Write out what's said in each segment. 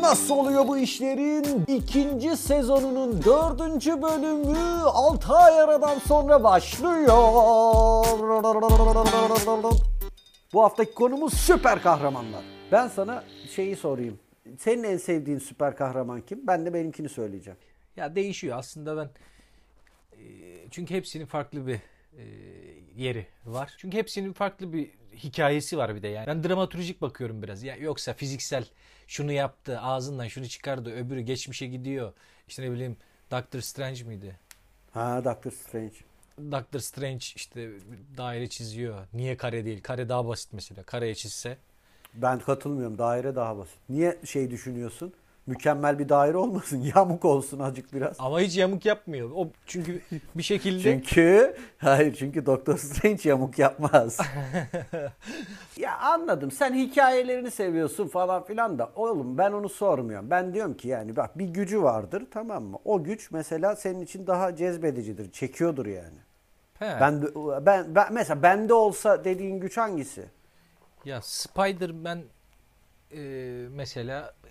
Nasıl oluyor bu işlerin? İkinci sezonunun dördüncü bölümü 6 ay aradan sonra başlıyor. Bu haftaki konumuz süper kahramanlar. Ben sana şeyi sorayım. Senin en sevdiğin süper kahraman kim? Ben de benimkini söyleyeceğim. Ya değişiyor aslında ben e, çünkü hepsinin farklı bir e, yeri var. Çünkü hepsinin farklı bir hikayesi var bir de yani. Ben dramatürjik bakıyorum biraz. Ya yoksa fiziksel şunu yaptı, ağzından şunu çıkardı, öbürü geçmişe gidiyor. İşte ne bileyim Doctor Strange miydi? Ha Doctor Strange. Doctor Strange işte bir daire çiziyor. Niye kare değil? Kare daha basit mesela. Kareye çizse. Ben katılmıyorum. Daire daha basit. Niye şey düşünüyorsun? Mükemmel bir daire olmasın. Yamuk olsun acık biraz. Ama hiç yamuk yapmıyor. O çünkü bir şekilde Çünkü hayır çünkü Doktor Strange yamuk yapmaz. ya anladım sen hikayelerini seviyorsun falan filan da oğlum ben onu sormuyorum. Ben diyorum ki yani bak bir gücü vardır tamam mı? O güç mesela senin için daha cezbedicidir, çekiyordur yani. He. Ben, ben ben mesela bende olsa dediğin güç hangisi? Ya Spider-Man e, mesela e,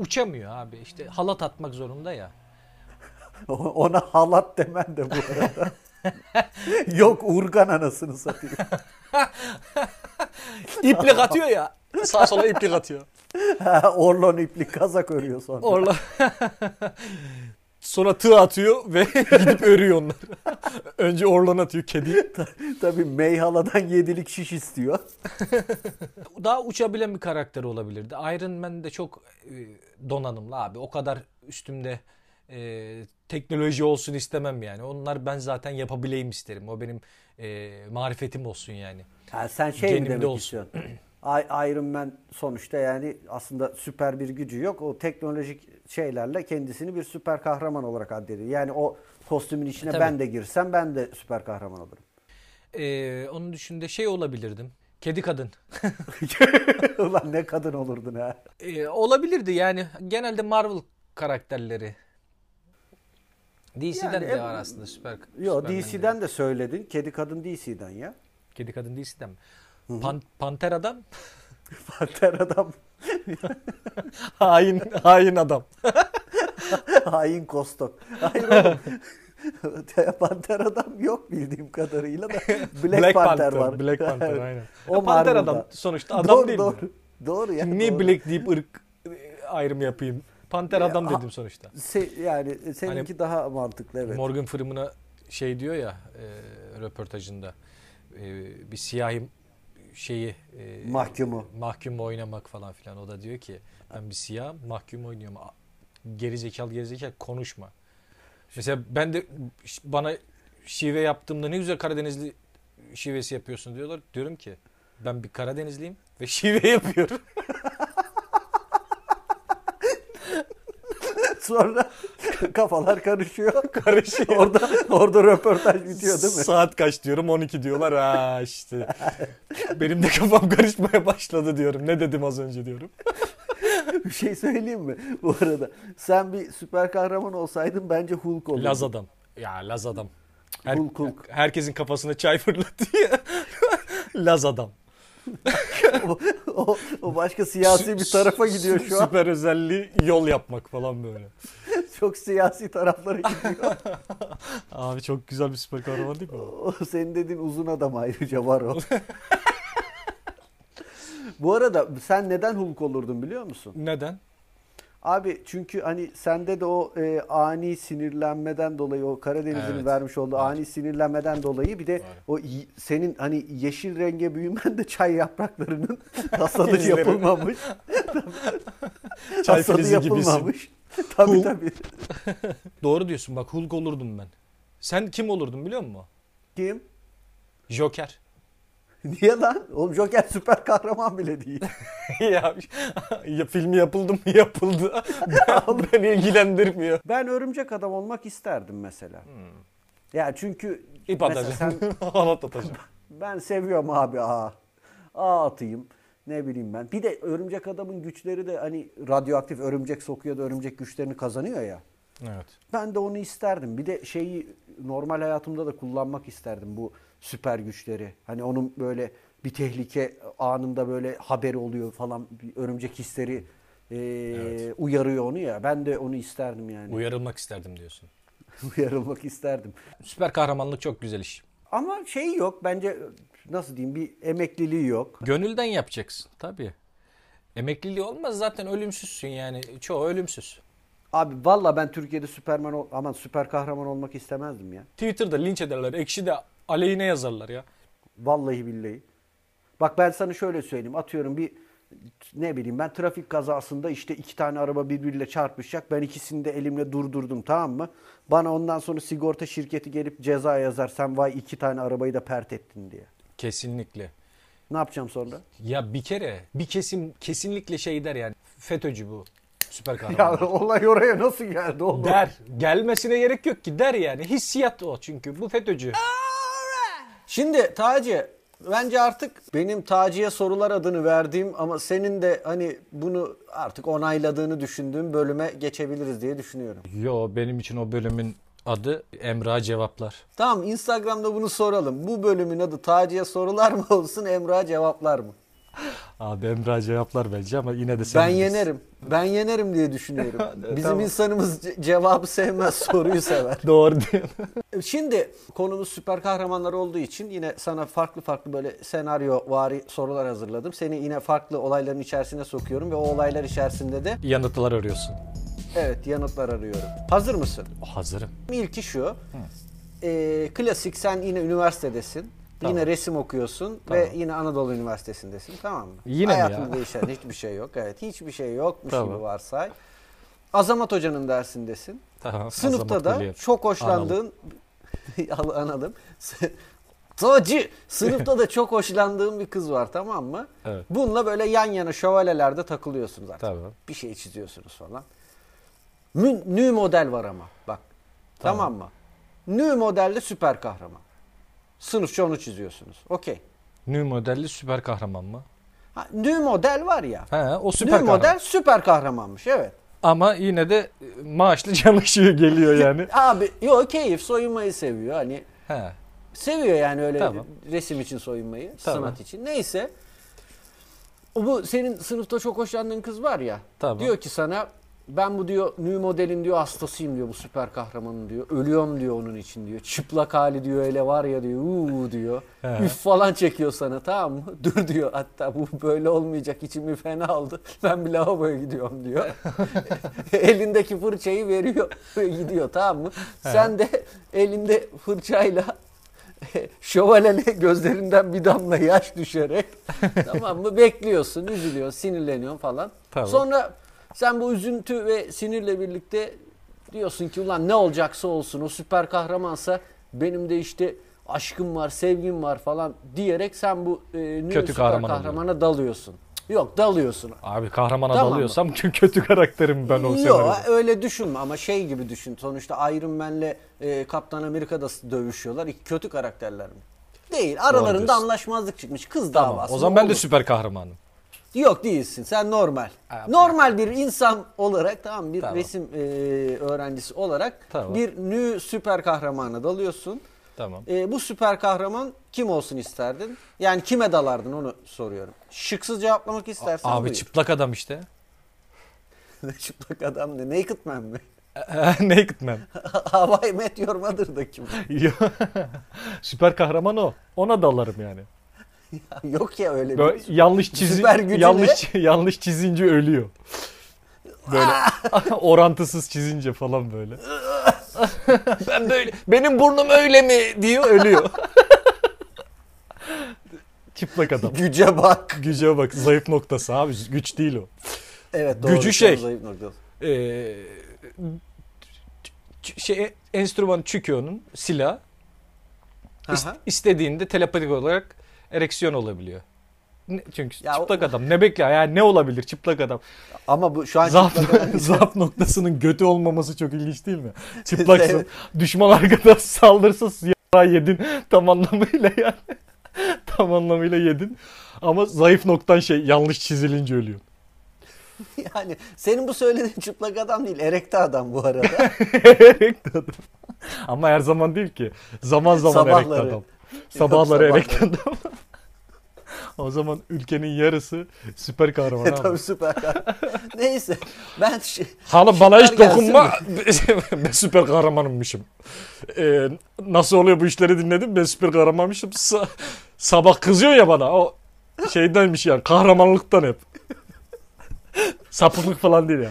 uçamıyor abi. İşte halat atmak zorunda ya. Ona halat demen de bu arada. Yok urgan anasını satayım. İplik atıyor ya. Sağa sola iplik atıyor. Orlon ipli kazak örüyor sonra. Orla. Sonra tığ atıyor ve gidip örüyor onları. Önce orlan atıyor kedi. Tabii meyhaladan yedilik şiş istiyor. Daha uçabilen bir karakter olabilirdi. Iron Man de çok e, donanımlı abi. O kadar üstümde e, teknoloji olsun istemem yani. Onlar ben zaten yapabileyim isterim. O benim e, marifetim olsun yani. Ha, sen şey mi Genimde demek olsun. istiyorsun? I- Iron Man sonuçta yani aslında süper bir gücü yok. O teknolojik şeylerle kendisini bir süper kahraman olarak addediyor. Yani o kostümün içine E, tabii. ben de girsem ben de süper kahraman olurum. Ee, onun dışında şey olabilirdim. Kedi kadın. Ulan ne kadın olurdun ha. Ee, olabilirdi yani. Genelde Marvel karakterleri. DC'den Yani, de e, var aslında süper. Yo Superman de. DC'den de söyledin. Kedi kadın DC'den ya. Kedi kadın DC'den mi? Pan- Panter adam. Panter adam hain, hain adam. hain kostok. Hayır oğlum. Panter adam yok bildiğim kadarıyla da Black, Panther, var. Black Panther aynen. O Ya Panter Marvel'da. adam sonuçta adam doğru, değil mi? doğru. Doğru ya. Niye doğru. E, Black deyip ırk e, ayrımı yapayım? Panter adam dedim sonuçta. Se- yani seninki Hani daha mantıklı evet. Morgan Freeman'a şey diyor ya e, röportajında e, bir siyahi şeyi e, Mahkumu. mahkum oynamak falan filan o da diyor ki ben bir siyah mahkum oynuyorum A- geri zekalı geri zekalı konuşma. Mesela ben de ş- bana şive yaptığımda ne güzel Karadenizli şivesi yapıyorsun diyorlar. Diyorum ki ben bir Karadenizliyim ve şive yapıyorum. Sonra kafalar karışıyor. Karışıyor. orada orada röportaj bitiyor değil mi? Saat kaç diyorum 12 diyorlar. Ha işte. Benim de kafam karışmaya başladı diyorum. Ne dedim az önce diyorum. Bir şey söyleyeyim mi bu arada? Sen bir süper kahraman olsaydın bence Hulk olurdun. Laz adam. Ya Laz adam. Her- Hulk, Hulk. Herkesin kafasına çay fırlattı ya. Laz adam. o, o, o başka siyasi bir tarafa gidiyor şu an. Süper özelliği yol yapmak falan böyle. Çok siyasi taraflara gidiyor. Abi çok güzel bir süper kahraman değil mi? o? O senin dediğin uzun adam ayrıca var o. Bu arada sen neden Hulk olurdun biliyor musun? Neden? Abi çünkü hani sende de o e, ani sinirlenmeden dolayı o Karadeniz'in Evet. vermiş olduğu ani sinirlenmeden dolayı bir de o y- senin hani yeşil renge büyümen de çay yapraklarının hasadı İzleri. yapılmamış. Çay hasadı filizi gibisin. yapılmamış. Tabii Cool. tabii. Doğru diyorsun bak Hulk olurdum ben. Sen kim olurdun biliyor musun? Kim? Joker. Niye lan? Oğlum Joker süper kahraman bile değil. ya, ya filmi yapıldı mı yapıldı. Ben, beni ilgilendirmiyor. Ben örümcek adam olmak isterdim mesela. Ya çünkü Hmm. İp mesela sen atacağım. Halat atacağım. Ben seviyorum abi ağa. Ağa atayım. Ne bileyim ben. Bir de örümcek adamın güçleri de hani radyoaktif örümcek sokuyor da örümcek güçlerini kazanıyor ya. Evet. Ben de onu isterdim. Bir de şeyi normal hayatımda da kullanmak isterdim bu süper güçleri. Hani onun böyle bir tehlike anında böyle haberi oluyor falan. Bir örümcek hisleri e, uyarıyor onu ya. Ben de onu isterdim yani. Uyarılmak isterdim diyorsun. Uyarılmak isterdim. Süper kahramanlık çok güzel iş. Ama şey yok bence nasıl diyeyim bir emekliliği yok. Gönülden yapacaksın tabii. Emekliliği olmaz zaten ölümsüzsün yani. Çoğu ölümsüz. Abi valla ben Türkiye'de Süperman ol- aman süper kahraman olmak istemezdim ya. Twitter'da linç ederler. Ekşi de aleyhine yazarlar ya. Vallahi billahi. Bak ben sana şöyle söyleyeyim. Atıyorum bir ne bileyim ben trafik kazasında işte iki tane araba birbiriyle çarpışacak. Ben ikisini de elimle durdurdum tamam mı? Bana ondan sonra sigorta şirketi gelip ceza yazar. Sen vay iki tane arabayı da pert ettin diye. Kesinlikle. Ne yapacağım sonra? Ya bir kere bir kesim kesinlikle şey der yani. FETÖ'cü bu. Süper kahraman. Ya olay oraya nasıl geldi oğlum? Der. Gelmesine gerek yok ki der yani. Hissiyat o çünkü. Bu FETÖ'cü. Şimdi Taci bence artık benim Taci'ye sorular adını verdiğim ama senin de hani bunu artık onayladığını düşündüğüm bölüme geçebiliriz diye düşünüyorum. Yo benim için o bölümün adı Emrah Cevaplar. Tamam Instagram'da bunu soralım. Bu bölümün adı Taci'ye sorular mı olsun Emrah cevaplar mı? Abi Emrah Cevaplar bence ama yine de sen Ben bilirsin. yenerim. Ben yenerim diye düşünüyorum. Bizim Tamam. insanımız ce- cevabı sevmez, soruyu sever. Doğru diyorsun. E, Şimdi konumuz süper kahramanlar olduğu için yine sana farklı farklı böyle senaryo vari sorular hazırladım. Seni yine farklı olayların içerisine sokuyorum ve o olaylar içerisinde de Yanıtlar arıyorsun. evet yanıtlar arıyorum. Hazır mısın? Hazırım. İlki şu. Ee, klasik sen yine üniversitedesin. Yine resim okuyorsun ve yine Anadolu Üniversitesi'ndesin tamam mı? Yine mi Hayatında ya? değişen hiçbir şey yok. Evet hiçbir şey yokmuş Tamam. gibi varsay. Azamat Hoca'nın dersindesin. Tamam. Sınıfta Azamat da Kolyar. çok hoşlandığın Al- analım. Taci sınıfta da çok hoşlandığın bir kız var tamam mı? Evet. Bununla böyle yan yana şövalelerde takılıyorsunuz artık. Tamam. Bir şey çiziyorsunuz falan. Mü- nü model var ama bak. Tamam, mı? Nü modelde süper kahraman. Sınıfça onu çiziyorsunuz. Okey. Nü modelli süper kahraman mı? Ha, Nü model var ya. He o Nü süper kahraman. model süper kahramanmış evet. Ama yine de e, maaşlı can ışığı geliyor yani. Abi yok keyif soyunmayı seviyor hani. He. Seviyor yani öyle Tamam. resim için soyunmayı, Tamam. sanat için. Neyse. O bu senin sınıfta çok hoşlandığın kız var ya. Tamam. Diyor ki sana ben bu diyor new modelin diyor hastasıyım diyor bu süper kahramanın diyor. Ölüyorum diyor onun için diyor. Çıplak hali diyor öyle var ya diyor. Uuu diyor. He. Üf falan çekiyor sana tamam mı? Dur diyor hatta bu böyle olmayacak içimi fena aldı. Ben bir lavaboya gidiyorum diyor. Elindeki fırçayı veriyor ve gidiyor tamam mı? Sen de elinde fırçayla şövalene gözlerinden bir damla yaş düşerek tamam mı bekliyorsun, üzülüyorsun, sinirleniyorsun falan. Tamam. Sonra sen bu üzüntü ve sinirle birlikte diyorsun ki ulan ne olacaksa olsun o süper kahramansa benim de işte aşkım var, sevgim var falan diyerek sen bu e, nü- Kötü süper kahraman kahramana dalıyorsun. Yok dalıyorsun. Abi kahramana Tamam e, mı? dalıyorsam çünkü kötü karakterim ben o Yok senaryoda. öyle düşünme ama şey gibi düşün. Sonuçta Iron Man'le e, Kaptan Amerika'da s- dövüşüyorlar. İki kötü karakterler mi? Değil. Aralarında diyorsun. anlaşmazlık çıkmış. Kız Tamam. davası. O zaman ben de olur. süper kahramanım. Yok değilsin. Sen normal. Ha, normal bir insan olarak tamam bir Tamam. resim e, öğrencisi olarak Tamam. bir nü süper kahramana dalıyorsun. Tamam. E, bu süper kahraman kim olsun isterdin? Yani kime dalardın onu soruyorum. Şıksız cevaplamak istersen Abi buyur. çıplak adam işte. çıplak adam ne? Naked Man mi? Naked Man. Hawaii Met Your Mother'daki mi? Ya, Süper kahraman o. Ona dalarım yani. Ya Yok ya öyle bir. Böyle yanlış çizin Süper gücü yanlış yanlış çizince ölüyor. Böyle orantısız çizince falan böyle. ben böyle benim burnum öyle mi diyor ölüyor. Çıplak adam. Güce bak. Güce bak zayıf noktası abi güç değil o. Evet Gücü doğru, şey. çok zayıf nokta. Ee, ç- şey enstrüman çünkü onun silah İst- Aha. istediğinde telepatik olarak ereksiyon olabiliyor. Ne- Çünkü Ya o- çıplak adam ne bekliyor yani ne olabilir çıplak adam. Ama bu şu an Zaaf, zaaf noktasının götü olmaması çok ilginç değil mi? Çıplaksın. Evet. düşman arkadan saldırsa siyah yedin tam anlamıyla yani. tam anlamıyla yedin. Ama zayıf noktan şey yanlış çizilince ölüyor. yani senin bu söylediğin çıplak adam değil, erekte adam bu arada. Erekte adam. Ama her zaman değil ki. Zaman zaman Sabahları. erekte adam. Sabahları sabahları. erekte adam. O zaman ülkenin yarısı süper kahraman abi. Tabii süper. Neyse ben şey, Hanım bana hiç Şunlar gelsin dokunma. ben süper kahramanımmışım. Ee, nasıl oluyor bu işleri dinledim. Ben süper kahramanmışım. Sa- sabah kızıyor ya bana. O şeydenmiş yani. Kahramanlıktan hep. Sapıklık falan değil ya.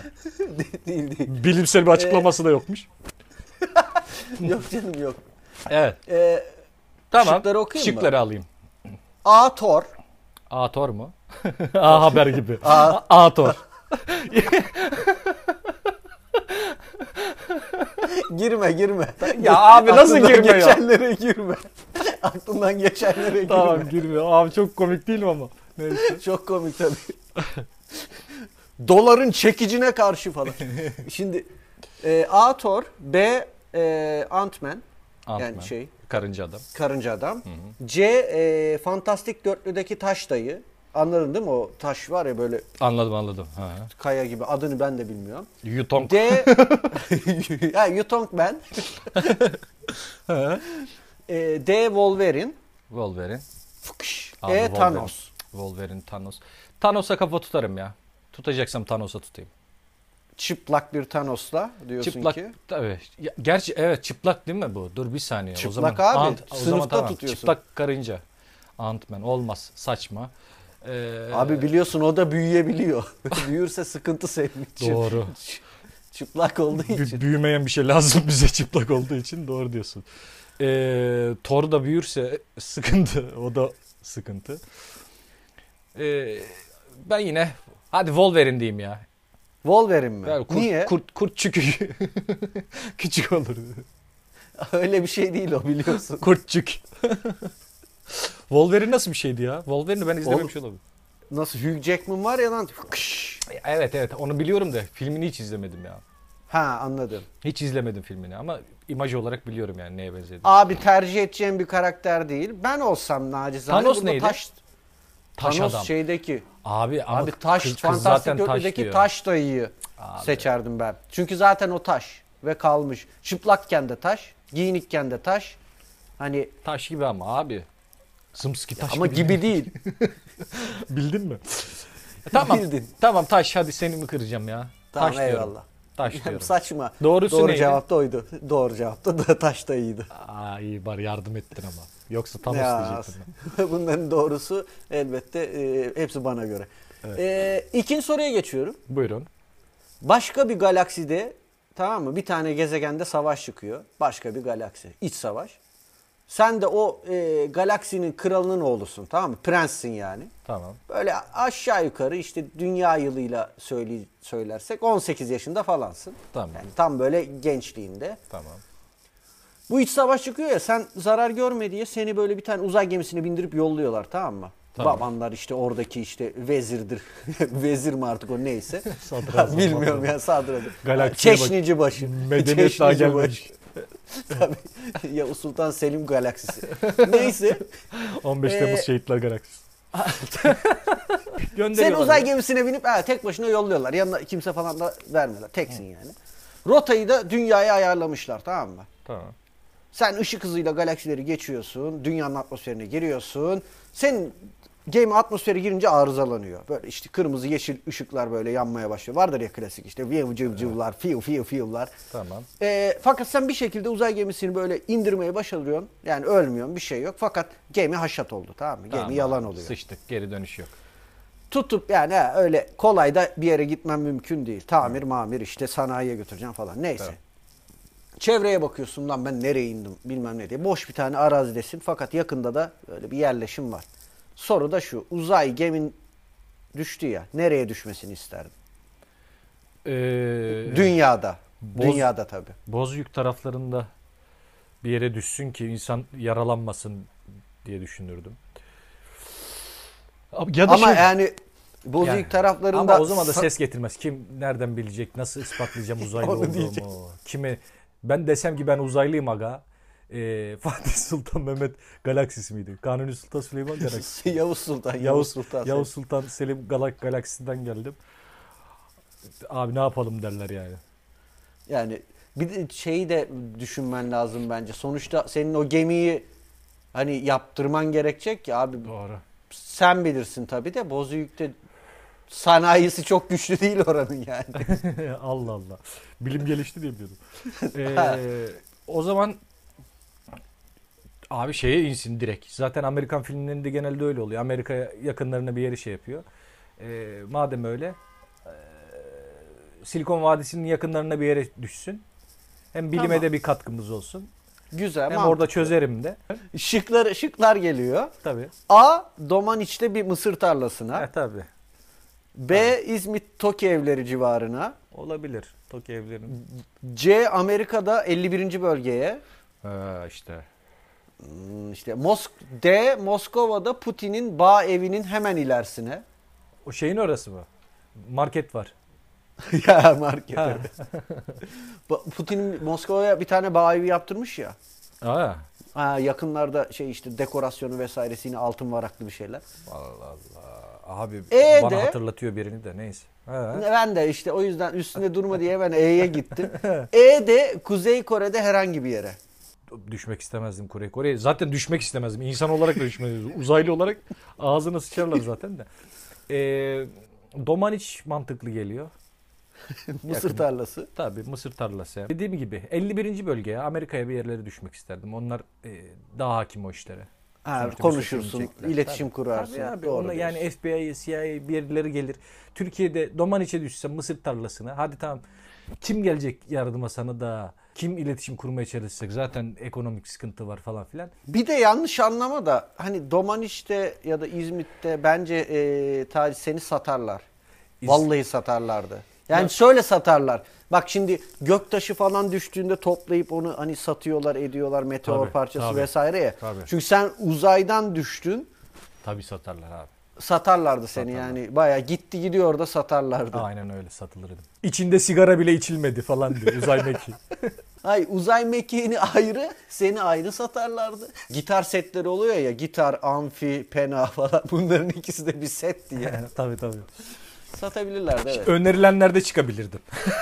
değil değil. Bilimsel bir açıklaması da yokmuş. Yok canım yok. Evet. Ee, Tamam. Şıkları okuyayım mı? Şıkları alayım. A Thor. A Thor mu? A haber gibi. A, Ator. girme girme. Ya abi nasıl Aklından girme ya? geçenlere girme. Aklından geçenlere tamam girme. girmiyor. Abi çok komik değil mi ama? Neyse. Çok komik tabii. Doların çekicine karşı falan. Şimdi e, A Thor, B e, Ant-Man. Ant-Man. Yani şey Karınca adam. karınca adam. C e, Fantastik Dörtlü'deki taş dayı. Anladın değil mi o taş var ya böyle Anladım anladım. Ha. kaya gibi adını ben de bilmiyorum. Yutong. D ha, Yutong Ben. e, D Wolverine. Wolverine. Fıkş. Abi e Wolverine. Thanos. Wolverine, Thanos. Thanos'a kafa tutarım ya. Tutacaksam Thanos'a tutayım. Çıplak bir Thanos'la diyorsun Çıplak. ki. Tabii. Ya, gerçi evet çıplak değil mi bu? Dur bir saniye. o Çıplak zaman, abi, o zaman sınıfta tamam. tutuyorsun. Çıplak karınca. Ant-Man olmaz. Saçma. Ee, Abi biliyorsun o da büyüyebiliyor. Büyürse sıkıntı senin için. Doğru. Çıplak olduğu Bü- için. büyümeyen bir şey lazım bize çıplak olduğu için. Doğru diyorsun. Ee, Thor da büyürse sıkıntı. O da sıkıntı. Ee, ben yine hadi Wolverine diyeyim ya. Wolverine mi? Yani kurt, Niye? Kurt, kurt çünkü küçük olur. Öyle bir şey değil o biliyorsun. Kurtçuk. Wolverine nasıl bir şeydi ya? Wolverine'i ben izlememiş olabilirim. Nasıl Hugh Jackman var ya lan. Fıkş. Evet evet onu biliyorum da filmini hiç izlemedim ya. Ha anladım. Hiç izlemedim filmini ama imaj olarak biliyorum yani neye benzediğini. Abi tercih edeceğim bir karakter değil. Ben olsam nacizane. Thanos burada neydi? Taş, Taş Thanos adam. şeydeki. Abi ama abi taş, kız, kız fantastik zaten taş dörtlüdeki diyor. taş, dayıyı Abi. seçerdim ben. Çünkü zaten o taş ve kalmış. Çıplakken de taş, giyinikken de taş. Hani Taş gibi ama abi. Zımsıkı taş ama gibi değil. Bildin mi? Tamam. bildin. Tamam taş hadi seni mi kıracağım ya? Tamam taş eyvallah. diyorum. Taş diyorum. Saçma. Doğrusu Doğru neydi? cevap da oydu. Doğru cevap da, da taş dayıydı. Aa iyi bari yardım ettin ama. Yoksa Thanos Ya, diyecektim. ben. bunların doğrusu elbette e, hepsi bana göre. E, ikinci soruya geçiyorum. Buyurun. Başka bir galakside tamam mı? Bir tane gezegende savaş çıkıyor. Başka bir galaksi. iç savaş. Sen de o e, galaksinin kralının oğlusun tamam mı? Prenssin yani. Tamam. Böyle aşağı yukarı işte dünya yılıyla söyle, söylersek 18 yaşında falansın. Tamam. Yani tam böyle gençliğinde. Tamam. Bu iç savaş çıkıyor ya sen zarar görme diye seni böyle bir tane uzay gemisine bindirip yolluyorlar tamam mı? Tamam. Babanlar işte oradaki işte vezirdir. Vezir mi artık o neyse. Sadrazam, Bilmiyorum ya sadrazam. Galaksiye bak. Çeşnici başı. Medeniyet daha Çeşnici gelmemiş. Tabii. ya Sultan Selim galaksisi. neyse. 15 Temmuz Ee, Şehitler Galaksisi. Seni Gönderiyorlar. uzay gemisine binip ha, tek başına yolluyorlar. Yanına kimse falan da vermiyorlar. Teksin yani. Rotayı da dünyaya ayarlamışlar tamam mı? Tamam. Sen ışık hızıyla galaksileri geçiyorsun. Dünyanın atmosferine giriyorsun. Senin gemi atmosfere girince arızalanıyor. Böyle işte kırmızı yeşil ışıklar böyle yanmaya başlıyor. Vardır ya klasik işte view cıvcıvlar, fiu fiu fiular. Tamam. Ee, fakat sen bir şekilde uzay gemisini böyle indirmeye başarıyorsun. Yani ölmüyorsun bir şey yok. Fakat gemi haşat oldu tamam mı? Gemi Tamam. yalan oluyor. Sıçtık. Geri dönüş yok. Tutup yani ha, öyle kolay da bir yere gitmem mümkün değil. Tamir mamir işte sanayiye götüreceğim falan neyse. Çevreye bakıyorsun lan ben nereye indim bilmem ne diye. Boş bir tane arazidesin fakat yakında da böyle bir yerleşim var. Soru da şu uzay gemin düştü ya nereye düşmesini isterdin? Ee, Dünyada. Boz- Dünyada tabii. Bozüyük taraflarında bir yere düşsün ki insan yaralanmasın diye düşünürdüm. Abi Ya da Ama e- şey, yani Bozüyük Yani. taraflarında ama o zaman da sa- ses getirmez. Kim nereden bilecek? Nasıl ispatlayacağım uzaylı Onu olduğumu? diyecektim. Kimi ben desem ki ben uzaylıyım aga. Ee, Fatih Sultan Mehmet galaksisi miydi? Kanuni Sultan Süleyman galaksisi. Yavuz Sultan. Yavuz, şey- Yavuz, Sultan. Yavuz Sultan Selim Galak galaksisinden geldim. Abi ne yapalım derler yani. Yani bir de şeyi de düşünmen lazım bence. Sonuçta senin o gemiyi hani yaptırman gerekecek ki abi Doğru. sen bilirsin tabii de Bozüyük'te sanayisi çok güçlü değil oranın yani. Allah Allah. Bilim gelişti diye biliyordum. Ee, o zaman abi şeye insin direkt. Zaten Amerikan filmlerinde genelde öyle oluyor. Amerika yakınlarına bir yeri şey yapıyor. Ee, madem öyle ee, Silikon Vadisi'nin yakınlarına bir yere düşsün. Hem bilime Tamam. de bir katkımız olsun. Güzel. Hem mantıklı. orada çözerim de. şıklar şıklar geliyor. Tabii. A. Domaniç'te bir mısır tarlasına. Ha, E, tabii. B. İzmit Toki evleri civarına. Olabilir. Tokyo evlerinin. C. Amerika'da 51. bölgeye. Ha, işte. Hmm, İşte Mosk D. Moskova'da Putin'in bağ evinin hemen ilerisine. O şeyin orası mı? Market var. ya market. Ba- Putin Moskova'ya bir tane bağ evi yaptırmış ya. Aa. Ha, yakınlarda şey işte dekorasyonu vesairesi yine altın varaklı bir şeyler. Allah Allah. Abi Ee, bana de- hatırlatıyor birini de neyse. Ha. Ben de işte o yüzden üstünde durma diye ben E'ye gittim. E de Kuzey Kore'de herhangi bir yere. Düşmek istemezdim Kore Kore'ye. Zaten düşmek istemezdim. İnsan olarak da düşmeyiz. Uzaylı olarak ağzına sıçarlar zaten. zaten de. Ee, Domaniç mantıklı geliyor. Mısır tarlası. Tabii Mısır tarlası. Dediğim gibi 51. bölgeye Amerika'ya bir yerlere düşmek isterdim. Onlar e, daha hakim o işlere. Ha, Sonuçta Mısır konuşursun, yiyecekler. iletişim kurarsın. Tabii abi. Doğru Ona diyorsun. yani FBI, CIA birileri gelir. Türkiye'de Domaniç'e düşse Mısır tarlasına. Hadi tamam. Kim gelecek yardıma sana da? Kim iletişim kurmaya çalışacak? Zaten ekonomik sıkıntı var falan filan. Bir de yanlış anlama da hani Domaniç'te ya da İzmit'te bence e, Taci seni satarlar. İz- Vallahi satarlardı. Yani şöyle satarlar. Bak şimdi göktaşı falan düştüğünde toplayıp onu hani satıyorlar, ediyorlar meteor Tabii, parçası tabii. vesaire ya. Tabii. Çünkü sen uzaydan düştün, Tabii satarlar abi. satarlardı seni yani. Bayağı gitti gidiyor orada satarlardı. Aynen öyle satılırdım. İçinde sigara bile içilmedi falan diyor uzay mekiği. Ay uzay mekiğini ayrı, seni ayrı satarlardı. Gitar setleri oluyor ya, gitar, amfi, pena falan bunların ikisi de bir setti yani. tabii tabii. Satabilirlerdi evet. Önerilenlerde çıkabilirdim.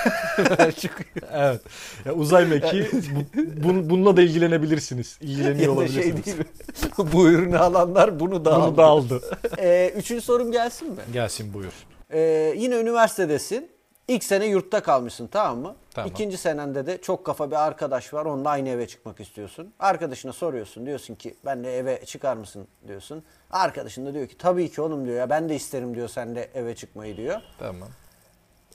Çıkıyor. Evet. Ya uzay mekiği bu- bun- bununla da ilgilenebilirsiniz. İlgileniyor ya da şey olabilirsiniz. değil mi? Bu ürünü alanlar bunu da Bunu aldı. da aldı. Ee, üçüncü sorum gelsin mi? Gelsin buyur. Ee, yine üniversitedesin. İlk sene yurtta kalmışsın tamam mı? Tamam. İkinci senende de çok kafa bir arkadaş var. Onunla aynı eve çıkmak istiyorsun. Arkadaşına soruyorsun. Diyorsun ki ben de eve çıkar mısın diyorsun. Arkadaşın da diyor ki tabii ki oğlum diyor ya ben de isterim diyor sen de eve çıkmayı diyor. Tamam.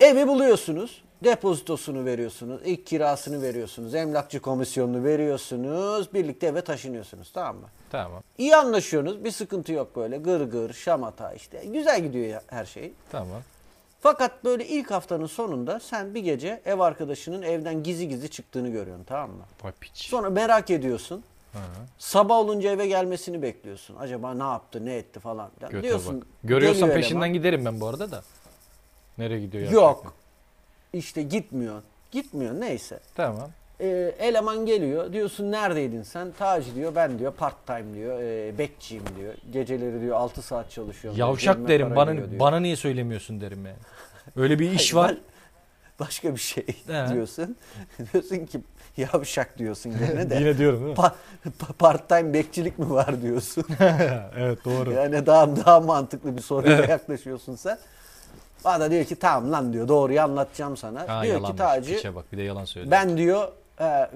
Evi buluyorsunuz. Depozitosunu veriyorsunuz. ilk kirasını veriyorsunuz. Emlakçı komisyonunu veriyorsunuz. Birlikte eve taşınıyorsunuz tamam mı? Tamam. İyi anlaşıyorsunuz. Bir sıkıntı yok böyle. Gır gır, şamata işte. Güzel gidiyor ya her şey. Tamam. Fakat böyle ilk haftanın sonunda sen bir gece ev arkadaşının evden gizli gizli çıktığını görüyorsun tamam mı? Vay piç. Sonra merak ediyorsun. Sabah olunca eve gelmesini bekliyorsun. Acaba ne yaptı, ne etti falan filan. Göte diyorsun. bak. Görüyorsan geliyor peşinden eleman. giderim ben bu arada da. Nereye gidiyor ya? Yok. İşte gitmiyor. Gitmiyor neyse. Tamam. Ee, eleman geliyor. Diyorsun neredeydin sen? Taci diyor ben diyor part time diyor. E, bekçiyim diyor. Geceleri diyor 6 saat çalışıyorum. diyor, Yavşak cebime derim. para giriyor Bana diyor. bana niye söylemiyorsun derim yani. Öyle bir iş var. Hayır, Başka bir şey He. diyorsun. diyorsun ki yavşak diyorsun gene de. Yine diyorum değil mi? Pa- pa- part time bekçilik mi var diyorsun. evet doğru. yani daha daha mantıklı bir soruya yaklaşıyorsun sen. Bana diyor ki tamam lan diyor doğruyu anlatacağım sana. Ha, diyor ki yalanmış. Taci Piçe bak bir şey de yalan söylüyor. ben diyor e,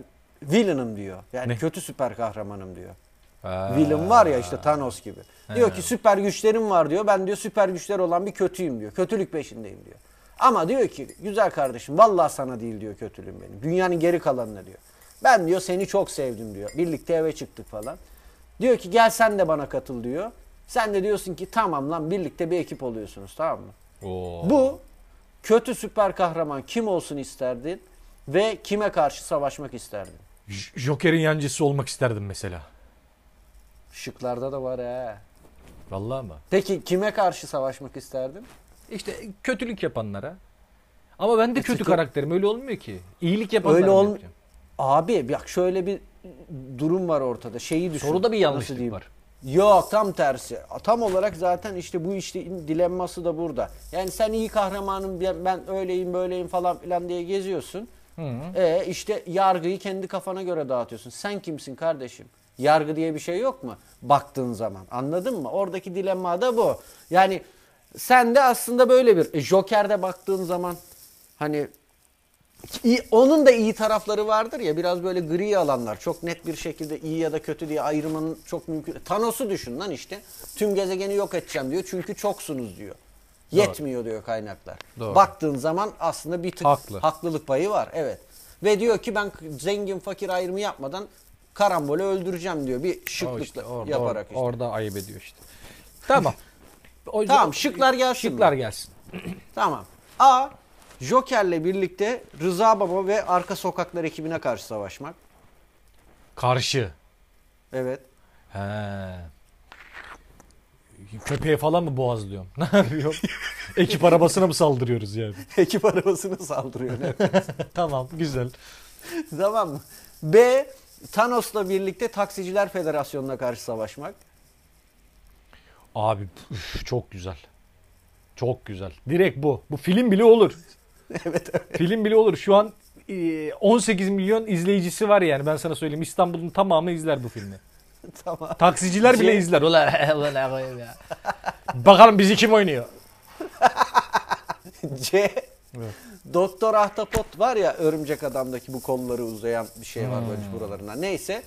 villain'ım diyor. Yani Ne? kötü süper kahramanım diyor. Ha. Villain var ya işte Thanos gibi. Diyor ki süper güçlerim var diyor. Ben diyor süper güçler olan bir kötüyüm diyor. Kötülük peşindeyim diyor. Ama diyor ki güzel kardeşim vallahi sana değil diyor kötülüğüm benim. Dünyanın geri kalanına diyor. Ben diyor seni çok sevdim diyor. Birlikte eve çıktık falan. Diyor ki gel sen de bana katıl diyor. Sen de diyorsun ki tamam lan birlikte bir ekip oluyorsunuz tamam mı? Oo. Bu kötü süper kahraman kim olsun isterdin ve kime karşı savaşmak isterdin? J- Joker'in yancısı olmak isterdim mesela. Şıklarda da var he. Vallahi mı? Peki kime karşı savaşmak isterdin? İşte kötülük yapanlara. Ama ben de kötü çünkü- karakterim öyle olmuyor ki. İyilik yapanlara Öyle mı ol- yapacağım? Abi bak şöyle bir durum var ortada. Şeyi düşün. Soruda bir Nasıl yanlışlık diyeyim? var. Yok tam tersi. Tam olarak zaten işte bu işte dilemması da burada. Yani sen iyi kahramanım ben- ben öyleyim böyleyim falan filan diye geziyorsun. E işte yargıyı kendi kafana göre dağıtıyorsun. Sen kimsin kardeşim? Yargı diye bir şey yok mu? Baktığın zaman. Anladın mı? Oradaki dilemma da bu. Yani sen de aslında böyle bir e, Joker'de baktığın zaman hani İyi- onun da iyi tarafları vardır ya biraz böyle gri alanlar çok net bir şekilde iyi ya da kötü diye ayrımının çok mümkün. Thanos'u düşün lan işte tüm gezegeni yok edeceğim diyor çünkü çoksunuz diyor. Yetmiyor diyor kaynaklar. Doğru. Baktığın zaman aslında bir tık Haklı. haklılık payı var evet. Ve diyor ki ben zengin fakir ayrımı yapmadan karambolü öldüreceğim diyor bir şıklıkla O işte orada, yaparak işte. orada ayıp ediyor işte. Tamam. O yüzden- Tamam, şıklar gelsin Şıklar mi? gelsin. Tamam. A. Joker'le birlikte Rıza Baba ve Arka Sokaklar ekibine karşı savaşmak. Karşı. Evet. He. Köpeğe falan mı boğazlıyorum? Ne yapıyorum? Ekip arabasına mı saldırıyoruz yani? Ekip arabasına saldırıyor. Evet. tamam güzel. tamam mı? B. Thanos'la birlikte Taksiciler Federasyonu'na karşı savaşmak. Abi üf, çok güzel. Çok güzel. Direkt bu. Bu film bile olur. evet. evet. Film bile olur. Şu an e, 18 milyon izleyicisi var yani ben sana söyleyeyim. İstanbul'un tamamı izler bu filmi. tamam. Taksiciler bile Şey- izler. Ulan ulan koyayım ya. Bakalım bizi kim oynuyor? C. Doktor Ahtapot var ya örümcek adamdaki bu kolları uzayan bir şey var böyle buralarına. Neyse.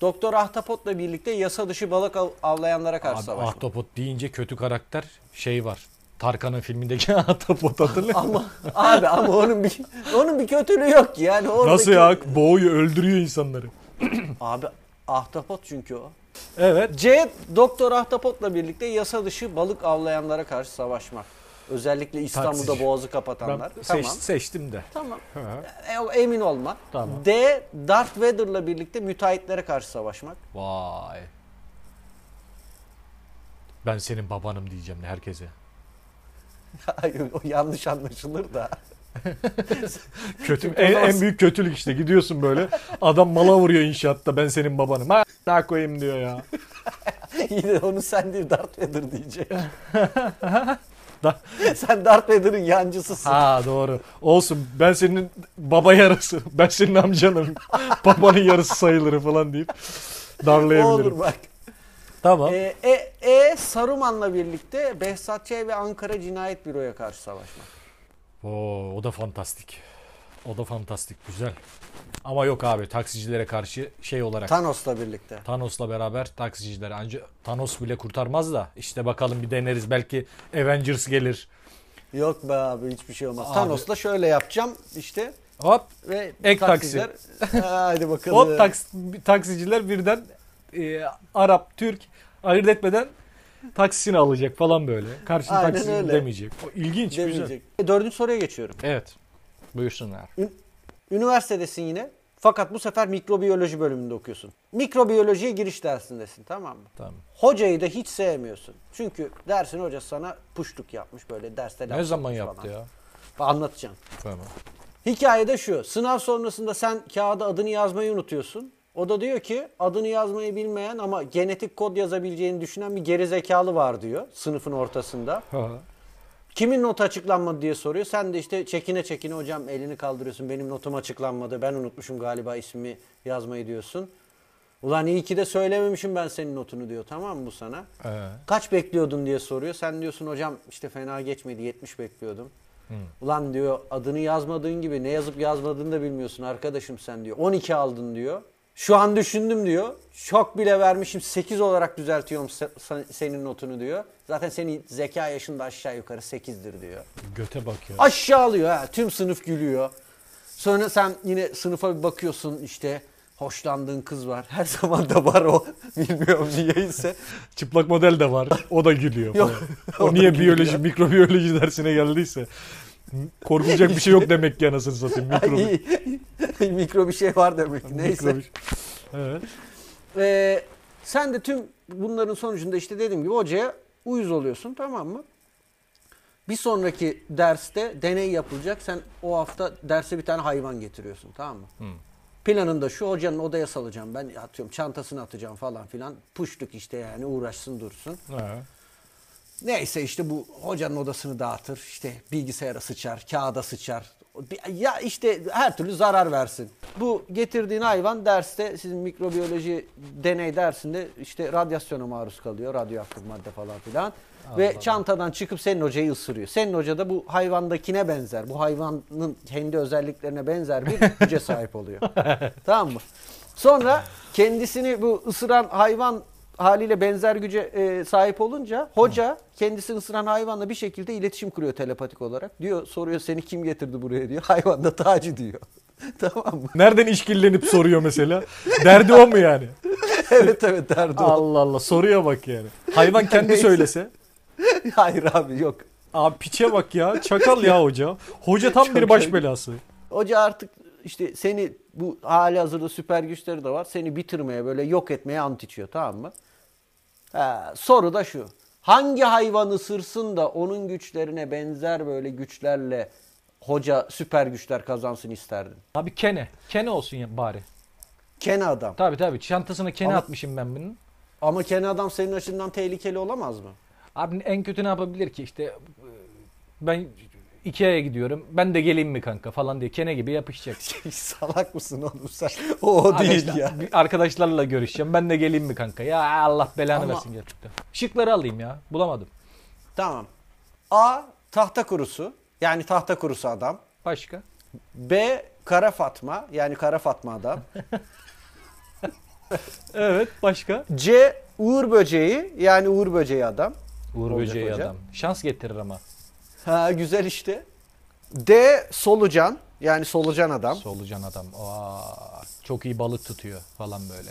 Doktor Ahtapot'la birlikte yasa dışı balık av- avlayanlara karşı Abi savaşmak. Ahtapot deyince kötü karakter şey var. Tarkan'ın filmindeki Ahtapot hatırlıyor musun? Ama abi ama onun bir onun bir kötülüğü yok ki yani oradaki. Nasıl ya? Boğuyor, öldürüyor insanları. Abi ahtapot çünkü o. Evet. C. Doktor Ahtapot'la birlikte yasa dışı balık avlayanlara karşı savaşmak. Özellikle İstanbul'da Taksici. boğazı Ben kapatanlar. seç- tamam. seçtim de. Tamam. E, emin olma. Tamam. D. Darth Vader'la birlikte müteahhitlere karşı savaşmak. Vay. Ben senin babanım diyeceğim herkese. Hayır, o yanlış anlaşılır da. Kötü, en, en büyük kötülük işte. Gidiyorsun böyle. Adam mala vuruyor inşaatta. Ben senin babanım. Ha daha koyayım diyor ya. Yine onu sen değil Darth Vader diyecek. Da- sen Darth Vader'ın yancısısın. Ha doğru. Olsun ben senin baba yarısı. Ben senin amcanım. Babanın yarısı sayılır falan deyip O darlayabilirim. olur bak. Tamam. E, e, e, Saruman'la birlikte Behzat Ç. ve Ankara Cinayet Büro'ya karşı savaşmak. Oo, o da fantastik. O da fantastik. Güzel. Ama yok abi taksicilere karşı şey olarak. Thanos'la birlikte. Thanos'la beraber taksiciler anca Thanos bile kurtarmaz da işte bakalım bir deneriz belki Avengers gelir. Yok be abi hiçbir şey olmaz. Abi. Thanos'la şöyle yapacağım işte Hop ve Ek taksiciler- Haydi bakalım. hop taks- taksiciler birden e, Arap, Türk ayırt etmeden taksisini alacak falan böyle. Karşına Aynen taksisini öyle. demeyecek. O ilginç güzel. demeyecek. E, dördüncü soruya geçiyorum. Evet. Buyursunlar. Üniversitedesin yine. Fakat bu sefer mikrobiyoloji bölümünde okuyorsun. Mikrobiyolojiye giriş dersindesin tamam mı? Tamam. Hocayı da hiç sevmiyorsun. Çünkü dersin hocası sana puştuk yapmış böyle derste laf Ne zaman sokmuş yaptı falan. ya? Anlatacağım. Tamam. Hikayede şu. Sınav sonrasında sen kağıda adını yazmayı unutuyorsun. O da diyor ki adını yazmayı bilmeyen ama genetik kod yazabileceğini düşünen bir gerizekalı var diyor sınıfın ortasında. Ha. Kimin notu açıklanmadı diye soruyor. Sen de işte çekine çekine hocam elini kaldırıyorsun. Benim notum açıklanmadı. Ben unutmuşum galiba ismi yazmayı diyorsun. Ulan iyi ki de söylememişim ben senin notunu diyor tamam mı bu sana? Ee, Kaç bekliyordun diye soruyor. Sen diyorsun hocam işte fena geçmedi 70 bekliyordum. Ulan diyor adını yazmadığın gibi ne yazıp yazmadığını da bilmiyorsun arkadaşım sen diyor. 12 aldın diyor. Şu an düşündüm diyor. Şok bile vermişim 8 olarak düzeltiyorum se- sen- senin notunu diyor. Zaten senin zeka yaşında aşağı yukarı 8'dir diyor. göte bak ya. Aşağılıyor ha. Tüm sınıf gülüyor. Sonra sen yine sınıfa bir bakıyorsun işte hoşlandığın kız var. Her zaman da var o. Bilmiyorum niyeyse. Çıplak model de var. O da gülüyor. Yok. falan. O da O niye gülüyor. biyoloji, mikrobiyoloji dersine geldiyse. Korkulacak bir şey yok demek ki anasını satayım. Mikrobi. İyi. Mikro bir şey var demek ki. Neyse. mikrobi- Evet. Ee, sen de tüm bunların sonucunda işte dediğim gibi hocaya uyuz oluyorsun tamam mı? Bir sonraki derste deney yapılacak. Sen o hafta derse bir tane hayvan getiriyorsun tamam mı? Planında şu hocanın odaya salacağım ben atıyorum çantasını atacağım falan filan. Puştuk işte yani uğraşsın dursun. Ha. Neyse işte bu hocanın odasını dağıtır. işte bilgisayara sıçar, kağıda sıçar. Ya işte her türlü zarar versin. Bu getirdiğin hayvan derste sizin mikrobiyoloji deney dersinde işte radyasyona maruz kalıyor. Radyoaktif madde falan filan. Ve çantadan çıkıp senin hocayı ısırıyor. Senin hoca da bu hayvandakine benzer. Bu hayvanın kendi özelliklerine benzer bir güce sahip oluyor. tamam mı? Sonra kendisini bu ısıran hayvan haliyle benzer güce e, sahip olunca hoca kendisini ısıran hayvanla bir şekilde iletişim kuruyor telepatik olarak. Diyor soruyor seni kim getirdi buraya diyor. Hayvan da Taci diyor. tamam mı? Nereden işkillenip soruyor mesela? Derdi o mu yani? evet evet derdi. o. Allah Allah soruya bak yani. Hayvan kendi söylese. Hayır abi yok. Abi piçe bak ya. Çakal ya hoca. Hoca tam bir baş belası. Hoca artık işte seni bu hali hazırda süper güçleri de var. Seni bitirmeye böyle yok etmeye ant içiyor tamam mı? Ha, soru da şu. Hangi hayvan ısırsın da onun güçlerine benzer böyle güçlerle hoca süper güçler kazansın isterdin? Abi kene. Kene olsun ya bari. Kene adam. Tabii tabii çantasına kene Ama- atmışım ben bunun. Ama kene adam senin açından tehlikeli olamaz mı? Abi en kötü ne yapabilir ki işte e, ben Ikea'ya gidiyorum. Ben de geleyim mi kanka falan diye kene gibi yapışacak. Salak mısın oğlum sen? O, o değil Arkadaşlar- ya. bir Arkadaşlarla görüşeceğim. Ben de geleyim mi kanka? Ya Allah belanı Ama- versin gerçekten. Şıkları alayım ya. Bulamadım. Tamam. A. Tahta kurusu. Yani tahta kurusu adam. Başka? B. Kara Fatma. Yani Kara Fatma adam. Evet başka? C Uğur böceği yani Uğur böceği adam. Uğur Olacak Böceği hocam. adam. Şans getirir ama. Ha güzel işte. D solucan yani solucan adam. Solucan adam. Aa, çok iyi balık tutuyor falan böyle.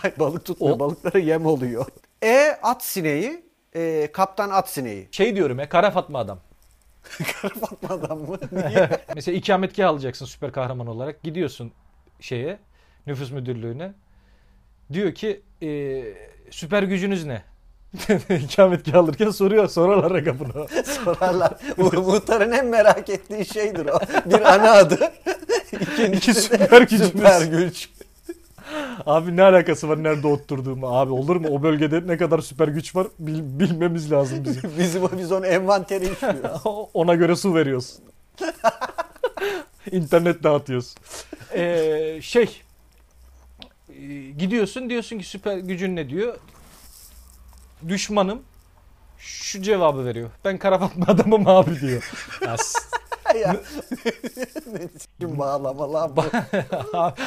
Hayır, Balık tutmuyor O- balıklara yem oluyor. E at sineği e, kaptan at sineği. Şey diyorum ya kara Fatma adam. Kara Fatma adam mı? Niye? Mesela ikametgah alacaksın süper kahraman olarak. Gidiyorsun şeye nüfus müdürlüğüne. Diyor ki e, süper gücünüz ne? ikametgah alırken soruyor sorarlar aga bunu. Sorarlar. Bu, muhtarın en merak ettiği şeydir o. Bir ana adı. İki süper gücümüz. Süper güç. Abi ne alakası var nerede oturduğumu abi olur mu? O bölgede ne kadar süper güç var bil- bilmemiz lazım bizim. Bizim, biz onu envanteri işliyor. Ona göre su veriyorsun. İnternet dağıtıyorsun. Ee, şey e, gidiyorsun diyorsun ki süper gücün ne diyor? Düşmanım şu cevabı veriyor. Ben kara Fatma adamım abi diyor. Ya s- ya. ne s**kim bağlama lan bu.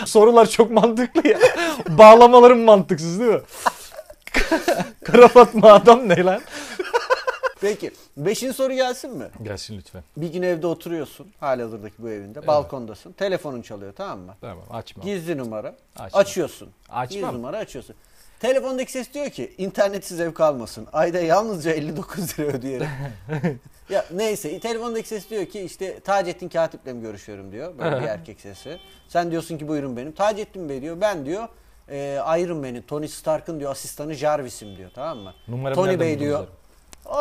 Sorular çok mantıklı ya. Bağlamalarım mantıksız değil mi? Kara Fatma adam ne lan? Peki. Beşinci soru gelsin mi? Gelsin lütfen. Bir gün evde oturuyorsun halihazırdaki bu evinde. Balkondasın. Telefonun çalıyor tamam mı? Tamam açma. Gizli numara. Açma. Açıyorsun. Açmam. Gizli numara açıyorsun. Telefondaki ses diyor ki internetsiz ev kalmasın. Ayda yalnızca 59 lira ödeyerek. ya neyse telefondaki ses diyor ki işte Taceddin Katip'le mi görüşüyorum diyor. Böyle bir erkek sesi. Sen diyorsun ki buyurun benim. Taceddin Bey diyor ben diyor e, Iron Man'in Tony Stark'ın diyor asistanı Jarvis'im diyor tamam mı? Numaramı Tony nereden Bey buldunuz diyor. oğlum?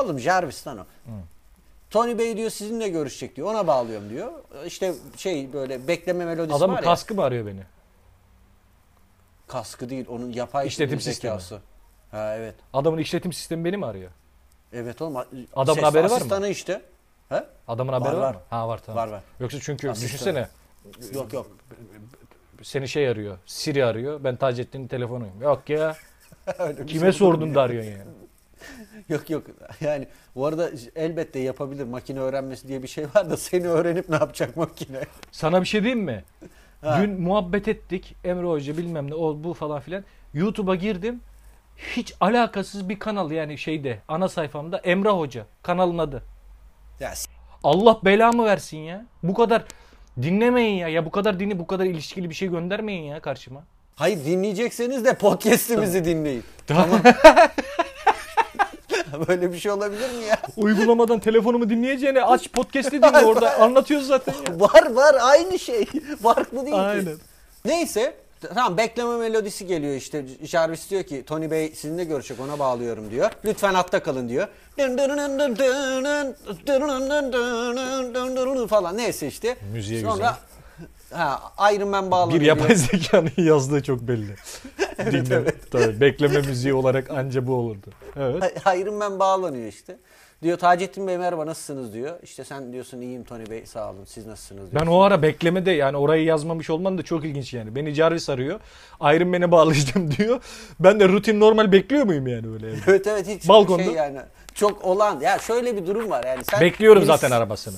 Oğlum Jarvis lan o. Tony Bey diyor sizinle görüşecek diyor. Ona bağlıyorum diyor. İşte şey böyle bekleme melodisi Adamın var ya. kaskı mı arıyor beni? Kaskı değil onun yapay İşletim sinir sistemi. zekası. Ha evet. Adamın işletim sistemi beni mi arıyor? Evet oğlum. Adamın Ses haberi var mı? asistanı işte. He? Adamın haberi var, var. mı? Ha var tamam. Var, var. Yoksa çünkü Asistan. düşünsene Yok yok. seni şey arıyor. Siri arıyor. Ben Taceddin'in telefonuyum. Yok ya. Öyle bir şey Kime olur mu sordun ya? da arıyorsun yani. Yok yok. Yani bu arada elbette yapabilir. Makine öğrenmesi diye bir şey var da seni öğrenip ne yapacak makine? Sana bir şey diyeyim mi? Ha. Dün muhabbet ettik. Emre Hoca bilmem ne o bu falan filan. YouTube'a girdim. Hiç alakasız bir kanal yani şeyde ana sayfamda Emre Hoca kanalın adı. Ya s- Allah belamı versin ya. Bu kadar dinlemeyin ya. Ya bu kadar dini bu kadar ilişkili bir şey göndermeyin ya karşıma. Hayır dinleyecekseniz de podcast'imizi dinleyin. Tamam. Böyle bir şey olabilir mi ya? Uygulamadan telefonumu dinleyeceğine aç podcast'i dinle orada anlatıyor zaten ya. var var aynı şey. Farklı değil Aynen. ki. Neyse tamam bekleme melodisi geliyor işte. Jarvis diyor ki Tony Bey sizinle görüşecek ona bağlıyorum diyor. Lütfen hatta kalın diyor. Dın dın dın dın dın dın dın dın dın dın falan neyse işte. Müziğe Sonra ha, Iron Man bağlanıyor. Bir yapay zekanın yazdığı çok belli. Dinle. Tabii bekleme müziği olarak anca bu olurdu. Evet. Iron Man bağlanıyor işte. Diyor Taceddin Bey merhaba nasılsınız diyor. İşte sen diyorsun iyiyim Tony Bey sağ olun siz nasılsınız diyor. Ben o ara beklemede yani orayı yazmamış olman da çok ilginç yani. Beni Jarvis arıyor. Iron Man'e bağlayacağım diyor. Ben de rutin normal bekliyor muyum yani öyle evde? Evet evet hiç Balkonda. şey yani çok olan ya şöyle bir durum var yani sen Bekliyorum birisi- zaten arabasını.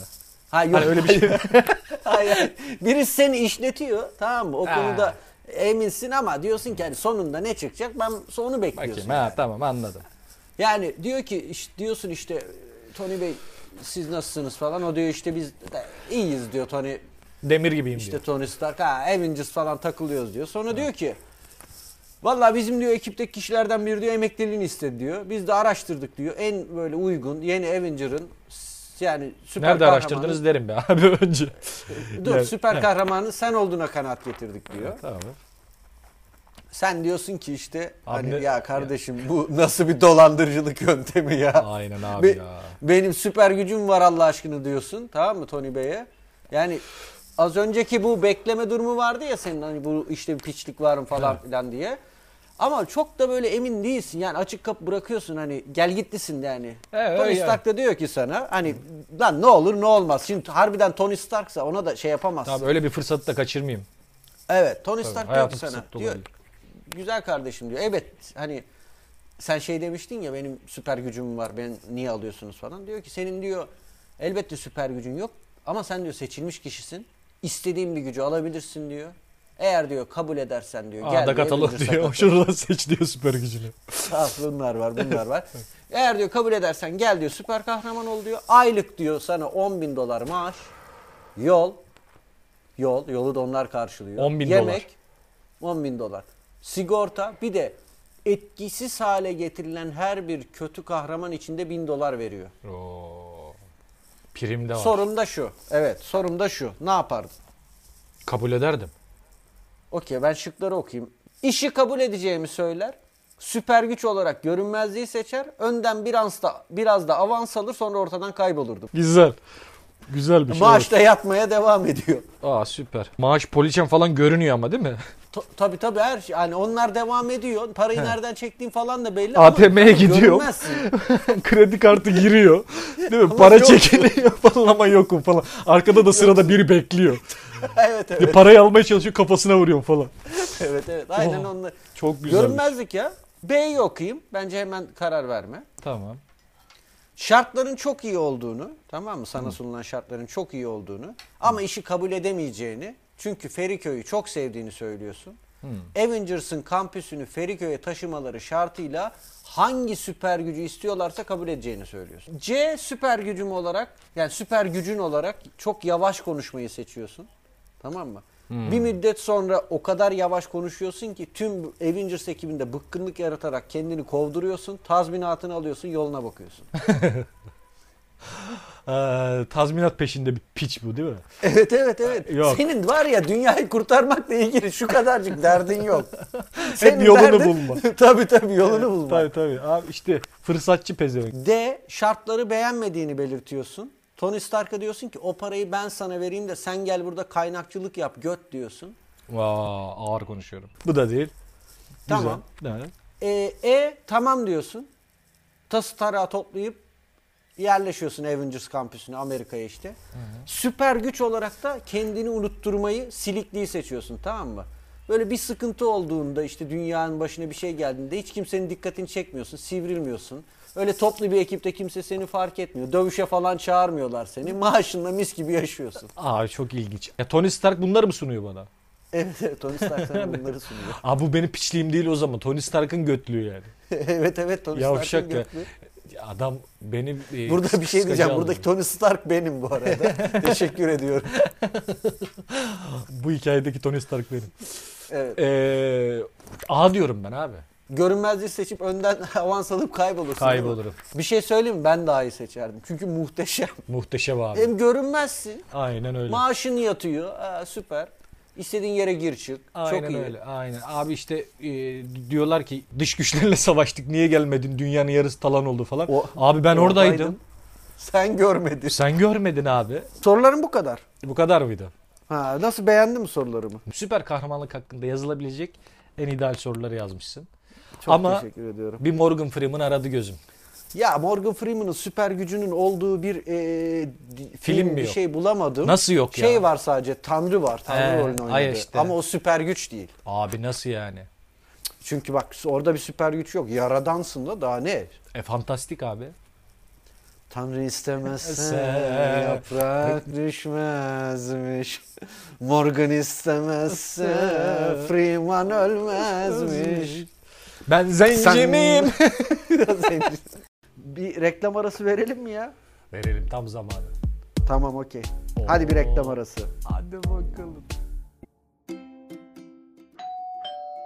Ha yok. öyle bir şey. Hayır, hayır. Birisi seni işletiyor tamam mı? O Ha. konuda eminsin ama diyorsun ki hani sonunda ne çıkacak ben sonu bekliyorsun. Bakayım, yani. Ha tamam anladım. Yani diyor ki iş- diyorsun işte Tony Bey siz nasılsınız falan o diyor işte biz de iyiyiz diyor Tony Demir gibiyim işte diyor. Tony Stark ha Avengers falan takılıyoruz diyor. Sonra diyor ki Vallahi bizim diyor ekipteki kişilerden biri diyor emekliliğini istedi diyor. Biz de araştırdık diyor. En böyle uygun yeni Avenger'ın s- yani süper Nerede kahramanı- araştırdınız derim be abi önce. Dur Evet. süper kahramanı sen olduğuna kanaat getirdik diyor. Tamam. Sen diyorsun ki işte hani Abi ne- ya kardeşim bu nasıl bir dolandırıcılık yöntemi ya. Aynen abi Be- ya. Benim süper gücüm var Allah aşkına diyorsun tamam mı Tony Bey'e? Yani az önceki bu bekleme durumu vardı ya senin hani bu işte bir piçlik var mı falan filan diye. Ama çok da böyle emin değilsin yani açık kapı bırakıyorsun hani gel gitlisin yani. Evet, hani. Tony öyle yani. Stark da diyor ki sana hani lan ne olur ne olmaz. Şimdi harbiden Tony Stark'sa ona da şey yapamazsın. Tabii öyle bir fırsatı da kaçırmayayım. Evet Tony Stark diyor hayatın ki sana kısıtlı diyor, olabilir. güzel kardeşim diyor evet hani sen şey demiştin ya benim süper gücüm var ben niye alıyorsunuz falan diyor ki senin diyor elbette süper gücün yok ama sen diyor seçilmiş kişisin istediğin bir gücü alabilirsin diyor. Eğer diyor kabul edersen diyor gel A'da diyor, katalog Avengers'a diyor. katıl." Şuradan seç diyor süper gücünü. Ah, bunlar var bunlar var. Eğer diyor kabul edersen gel diyor süper kahraman ol diyor. Aylık diyor sana 10 bin dolar maaş. Yol. Yol. Yolu da onlar karşılıyor. 10 bin Yemek. 10 bin dolar. Sigorta bir de etkisiz hale getirilen her bir kötü kahraman içinde bin dolar veriyor. Oo. Prim de var. Sorum da şu. Evet sorum da şu. Ne yapardın? Kabul ederdim. Okey ben şıkları okuyayım. İşi kabul edeceğimi söyler. Süper güç olarak görünmezliği seçer. Önden biraz da, biraz da avans alır sonra ortadan kaybolurdum. Güzel. Güzel bir şey. Maaş da yatmaya devam ediyor. Aa süper. Maaş poliçem falan görünüyor ama değil mi? Ta- tabii tabii her şey. Yani onlar devam ediyor. Parayı nereden çektiğin falan da belli ATM 'ye gidiyorum. görünmezsin. Kredi kartı giriyor. Değil mi? Para yok. çekiliyor falan ama yokum falan. Arkada da sırada biri bekliyor. evet Bir evet. parayı almaya çalışıyor kafasına vuruyor falan. evet evet. Aynen Oh, onlar. Çok güzel. Görünmezlik ya. B'yi okuyayım. Bence hemen karar verme. Tamam. şartların çok iyi olduğunu tamam mı sana sunulan şartların çok iyi olduğunu ama işi kabul edemeyeceğini çünkü Feriköy'ü çok sevdiğini söylüyorsun. Avengers'ın kampüsünü Feriköy'e taşımaları şartıyla hangi süper gücü istiyorlarsa kabul edeceğini söylüyorsun. C süper gücüm olarak yani süper gücün olarak çok yavaş konuşmayı seçiyorsun. Tamam mı? Bir müddet sonra o kadar yavaş konuşuyorsun ki tüm Avengers ekibinde bıkkınlık yaratarak kendini kovduruyorsun, tazminatını alıyorsun, yoluna bakıyorsun. Ee, tazminat peşinde bir piç bu değil mi? Evet evet evet. Yok. Senin var ya dünyayı kurtarmakla ilgili şu kadarcık derdin yok. Senin yolunu bulma. tabii tabii yolunu bulma. Tabii tabii. Abi işte fırsatçı pezevenk. D şartları beğenmediğini belirtiyorsun. Tony Stark'a diyorsun ki o parayı ben sana vereyim de sen gel burada kaynakçılık yap göt diyorsun. Vaa ağır konuşuyorum. Bu da değil. Güzel. Tamam. Evet. E, e tamam diyorsun. Tası tarağı toplayıp yerleşiyorsun Avengers kampüsüne Amerika'ya işte. Süper güç olarak da kendini unutturmayı silikliği seçiyorsun tamam mı? Böyle bir sıkıntı olduğunda işte dünyanın başına bir şey geldiğinde hiç kimsenin dikkatini çekmiyorsun, sivrilmiyorsun. Öyle toplu bir ekipte kimse seni fark etmiyor. Dövüşe falan çağırmıyorlar seni. Maaşınla mis gibi yaşıyorsun. Aa çok ilginç. Ya Tony Stark bunları mı sunuyor bana? Evet, evet Tony Stark sana bunları sunuyor. Aa bu benim piçliğim değil o zaman. Tony Stark'ın götlüğü yani. evet evet Tony Ya Stark'ın uşak ya. götlü. Ya Adam beni e, Burada bir şey kıskaca diyeceğim. alıyor. Buradaki Tony Stark benim bu arada. Teşekkür ediyorum. Bu hikayedeki Tony Stark benim. Evet. Ee, A diyorum ben abi. Görünmezliği seçip önden avans alıp kaybolursun. Kaybolurum. Bir şey söyleyeyim mi? Ben daha iyi seçerdim. Çünkü muhteşem. Muhteşem abi. Hem görünmezsin. Aynen öyle. Maaşın yatıyor. Aa, süper. İstediğin yere gir çık. Aynen Çok iyi. öyle. Aynen. Abi işte e, diyorlar ki dış güçlerle savaştık niye gelmedin dünyanın yarısı talan oldu falan. O- abi ben oradaydım. Oradaydım. Sen görmedin. Sen görmedin abi. Sorularım bu kadar. Bu kadar mıydı? Ha, nasıl beğendin mi sorularımı? Süper kahramanlık hakkında yazılabilecek en ideal soruları yazmışsın. Çok Ama teşekkür ediyorum. bir Morgan Freeman aradı gözüm. Ya Morgan Freeman'ın süper gücünün olduğu bir e, di- film mi bir yok? şey bulamadım. Nasıl yok şey ya? var sadece Tanrı var. Tanrı He, rolünü oynadı. ay işte. Ama o süper güç değil. Abi nasıl yani? Çünkü bak orada bir süper güç yok. Yaradansın da daha ne? E fantastik abi. Tanrı istemezse Sen- yaprak düşmezmiş. Morgan istemezse Freeman ölmezmiş. Ben zenci Sen- miyim? Biraz zenci. bir reklam arası verelim mi ya? Verelim tam zamanı. Tamam okey. Hadi bir reklam arası. Hadi bakalım.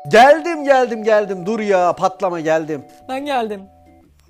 Geldim geldim geldim. Dur ya patlama geldim. Ben geldim.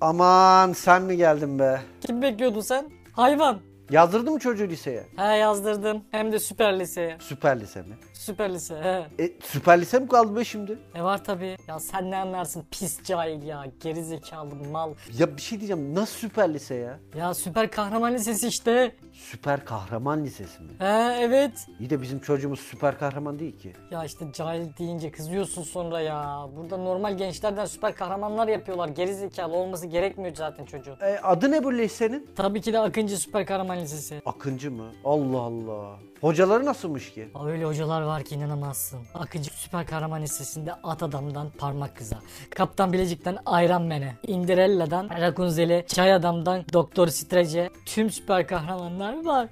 Aman sen mi geldin be? Kim bekliyordun sen? Hayvan. Yazdırdın mı çocuğu liseye? He yazdırdım. Hem de süper liseye. Süper lise mi? Süper lise he. E, süper lise mi kaldı be şimdi? Ne var tabii. Ya sen ne anlarsın pis cahil ya. Geri zekalı mal. Ya bir şey diyeceğim. Nasıl süper lise ya? Ya süper kahraman lisesi işte. Süper kahraman lisesi mi? He evet. İyi de bizim çocuğumuz süper kahraman değil ki. Ya işte cahil deyince kızıyorsun sonra ya. Burada normal gençlerden süper kahramanlar yapıyorlar. Geri zekalı olması gerekmiyor zaten çocuğun. E, adı ne bu lisenin? Tabii ki de Akıncı Süper Kahraman Lisesi. Akıncı mı? Allah Allah. Hocaları nasılmış ki? Aa, Öyle hocalar var ki inanamazsın. Akıncı Süper Kahraman Lisesi'nde at adamdan parmak kıza, Kaptan Bilecik'ten Ayran Mene, Indirella'dan Rakunzel'e, Çay Adam'dan Doktor Strece tüm süper kahramanlar var.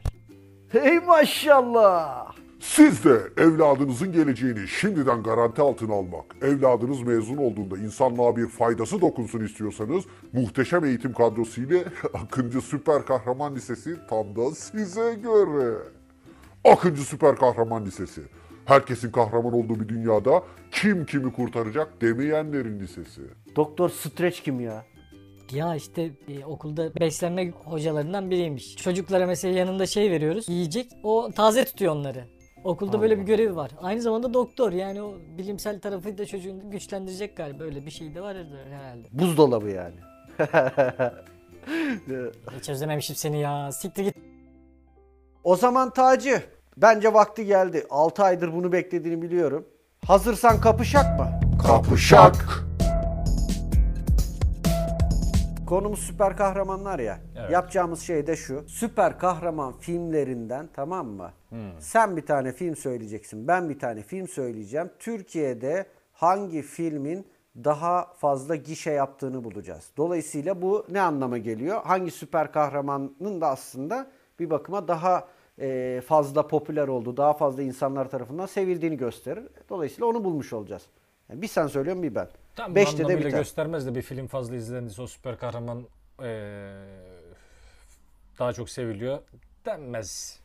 Hey maşallah. Siz de evladınızın geleceğini şimdiden garanti altına almak, evladınız mezun olduğunda insanlığa bir faydası dokunsun istiyorsanız muhteşem eğitim kadrosu ile Akıncı Süper Kahraman Lisesi tam da size göre. Akıncı Süper Kahraman Lisesi. Herkesin kahraman olduğu bir dünyada kim kimi kurtaracak demeyenlerin lisesi. Doktor Streç kim ya? Ya işte e, okulda beslenme hocalarından biriymiş. Çocuklara mesela yanında şey veriyoruz, yiyecek. O taze tutuyor onları. Okulda böyle bir görevi var. Aynı zamanda doktor yani o bilimsel tarafı da çocuğun güçlendirecek galiba. Böyle bir şey de var herhalde. Buzdolabı yani. Hiç özlememişim seni ya. Siktir git. O zaman Taci, bence vakti geldi. 6 aydır bunu beklediğini biliyorum. Hazırsan kapışak mı? Kapışak! Konumuz süper kahramanlar ya. Evet. Yapacağımız şey de şu. Süper kahraman filmlerinden tamam mı? Hmm. Sen bir tane film söyleyeceksin. Ben bir tane film söyleyeceğim. Türkiye'de hangi filmin daha fazla gişe yaptığını bulacağız. Dolayısıyla bu ne anlama geliyor? Hangi süper kahramanın da aslında bir bakıma daha e, fazla popüler olduğu, daha fazla insanlar tarafından sevildiğini gösterir. Dolayısıyla onu bulmuş olacağız. Yani bir sen söylüyorsun bir ben. Tam Beşte de anlamıyla biter. göstermez de bir film fazla izlendiyse o süper kahraman eee, daha çok seviliyor denmez.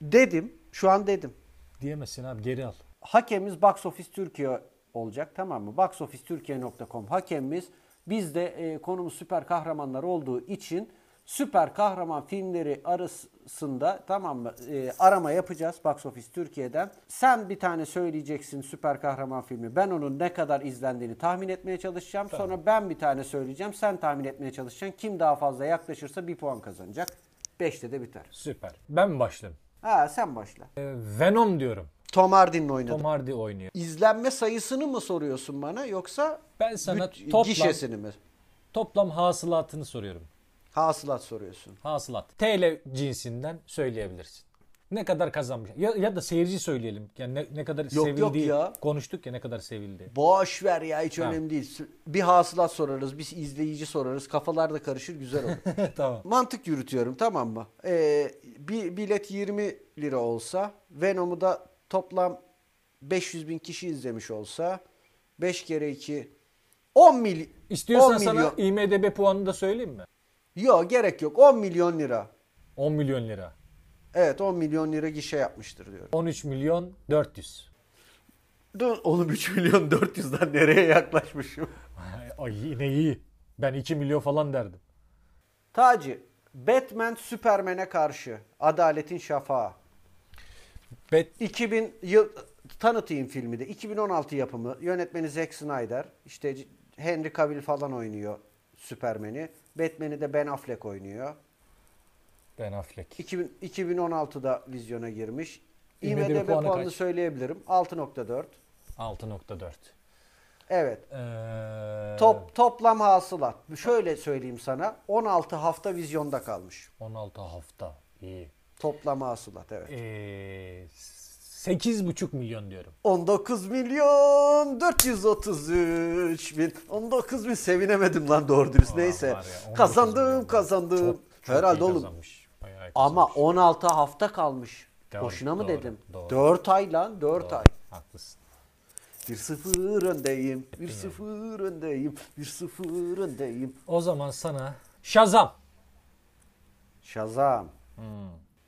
dedim. Şu an dedim. Diyemezsin abi geri al. hakemimiz Box Office Türkiye olacak tamam mı? Boxofficetürkiye.com hakemimiz. Biz de e, konumuz süper kahramanlar olduğu için süper kahraman filmleri arasında tamam mı e, arama yapacağız Box Office Türkiye'den. Sen bir tane söyleyeceksin süper kahraman filmi. Ben onun ne kadar izlendiğini tahmin etmeye çalışacağım. Sonra ben bir tane söyleyeceğim. Sen tahmin etmeye çalışacaksın. Kim daha fazla yaklaşırsa bir puan kazanacak. Beşte de biter. Süper. Ben mi başlarım? Ha sen başla. Eee, Venom diyorum. Tom Hardy'nin oynadığı. Tom Hardy oynuyor. İzlenme sayısını mı soruyorsun bana yoksa Ben sana büt- toplam, gişesini mi? toplam hasılatını soruyorum. Hasılat soruyorsun. Hasılat. TL cinsinden söyleyebilirsin. Ne kadar kazanmış? Ya, ya da seyirci söyleyelim. Yani ne, ne kadar yok sevildiği. ya. Konuştuk ya ne kadar sevildi. Boş ver ya hiç Ha. önemli değil. Bir hasılat sorarız, bir izleyici sorarız. Kafalar da karışır güzel olur. tamam. Mantık yürütüyorum tamam mı? Ee, bir bilet 20 lira olsa Venom'u da toplam 500 bin kişi izlemiş olsa 5 kere 2 10 milyon. İstiyorsan 10 sana milyon. IMDB puanını da söyleyeyim mi? Yok gerek yok 10 milyon lira. 10 milyon lira. Evet 10 milyon lira gişe yapmıştır diyorum. 13 milyon 400. Dön- Oğlum 3 milyon 400'den nereye yaklaşmışım? Ay yine iyi. Ben 2 milyon falan derdim. Taci, Batman Superman'e karşı Adaletin Şafağı. Bet 2000 yıl tanıtayım filmi de. 2016 yapımı. Yönetmeni Zack Snyder. İşte C- Henry Cavill falan oynuyor Superman'i. Batman'i de Ben Affleck oynuyor. Ben Affleck. 2000, 2016'da vizyona girmiş. IMDb IMDb puanı puanını kaç? söyleyebilirim. 6.4. 6.4. Evet. Ee, Top toplam hasılat. Şöyle söyleyeyim sana. 16 hafta vizyonda kalmış. 16 hafta. İyi. Toplam hasılat evet. Ee, 8,5 milyon diyorum. 19 milyon 433 bin 19 bin sevinemedim lan doğru dürüst Aa, neyse var ya, 19 milyon. kazandım kazandım Çok herhalde iyi oğlum kazanmış. Bayağı ama kazanmış. 16 hafta kalmış Doğru, boşuna mı doğru, dedim doğru. 4 ay lan 4 Doğru, ay Haklısın. 1-0 öndeyim 1-0 öndeyim 1-0 öndeyim O zaman sana Şazam. Şazam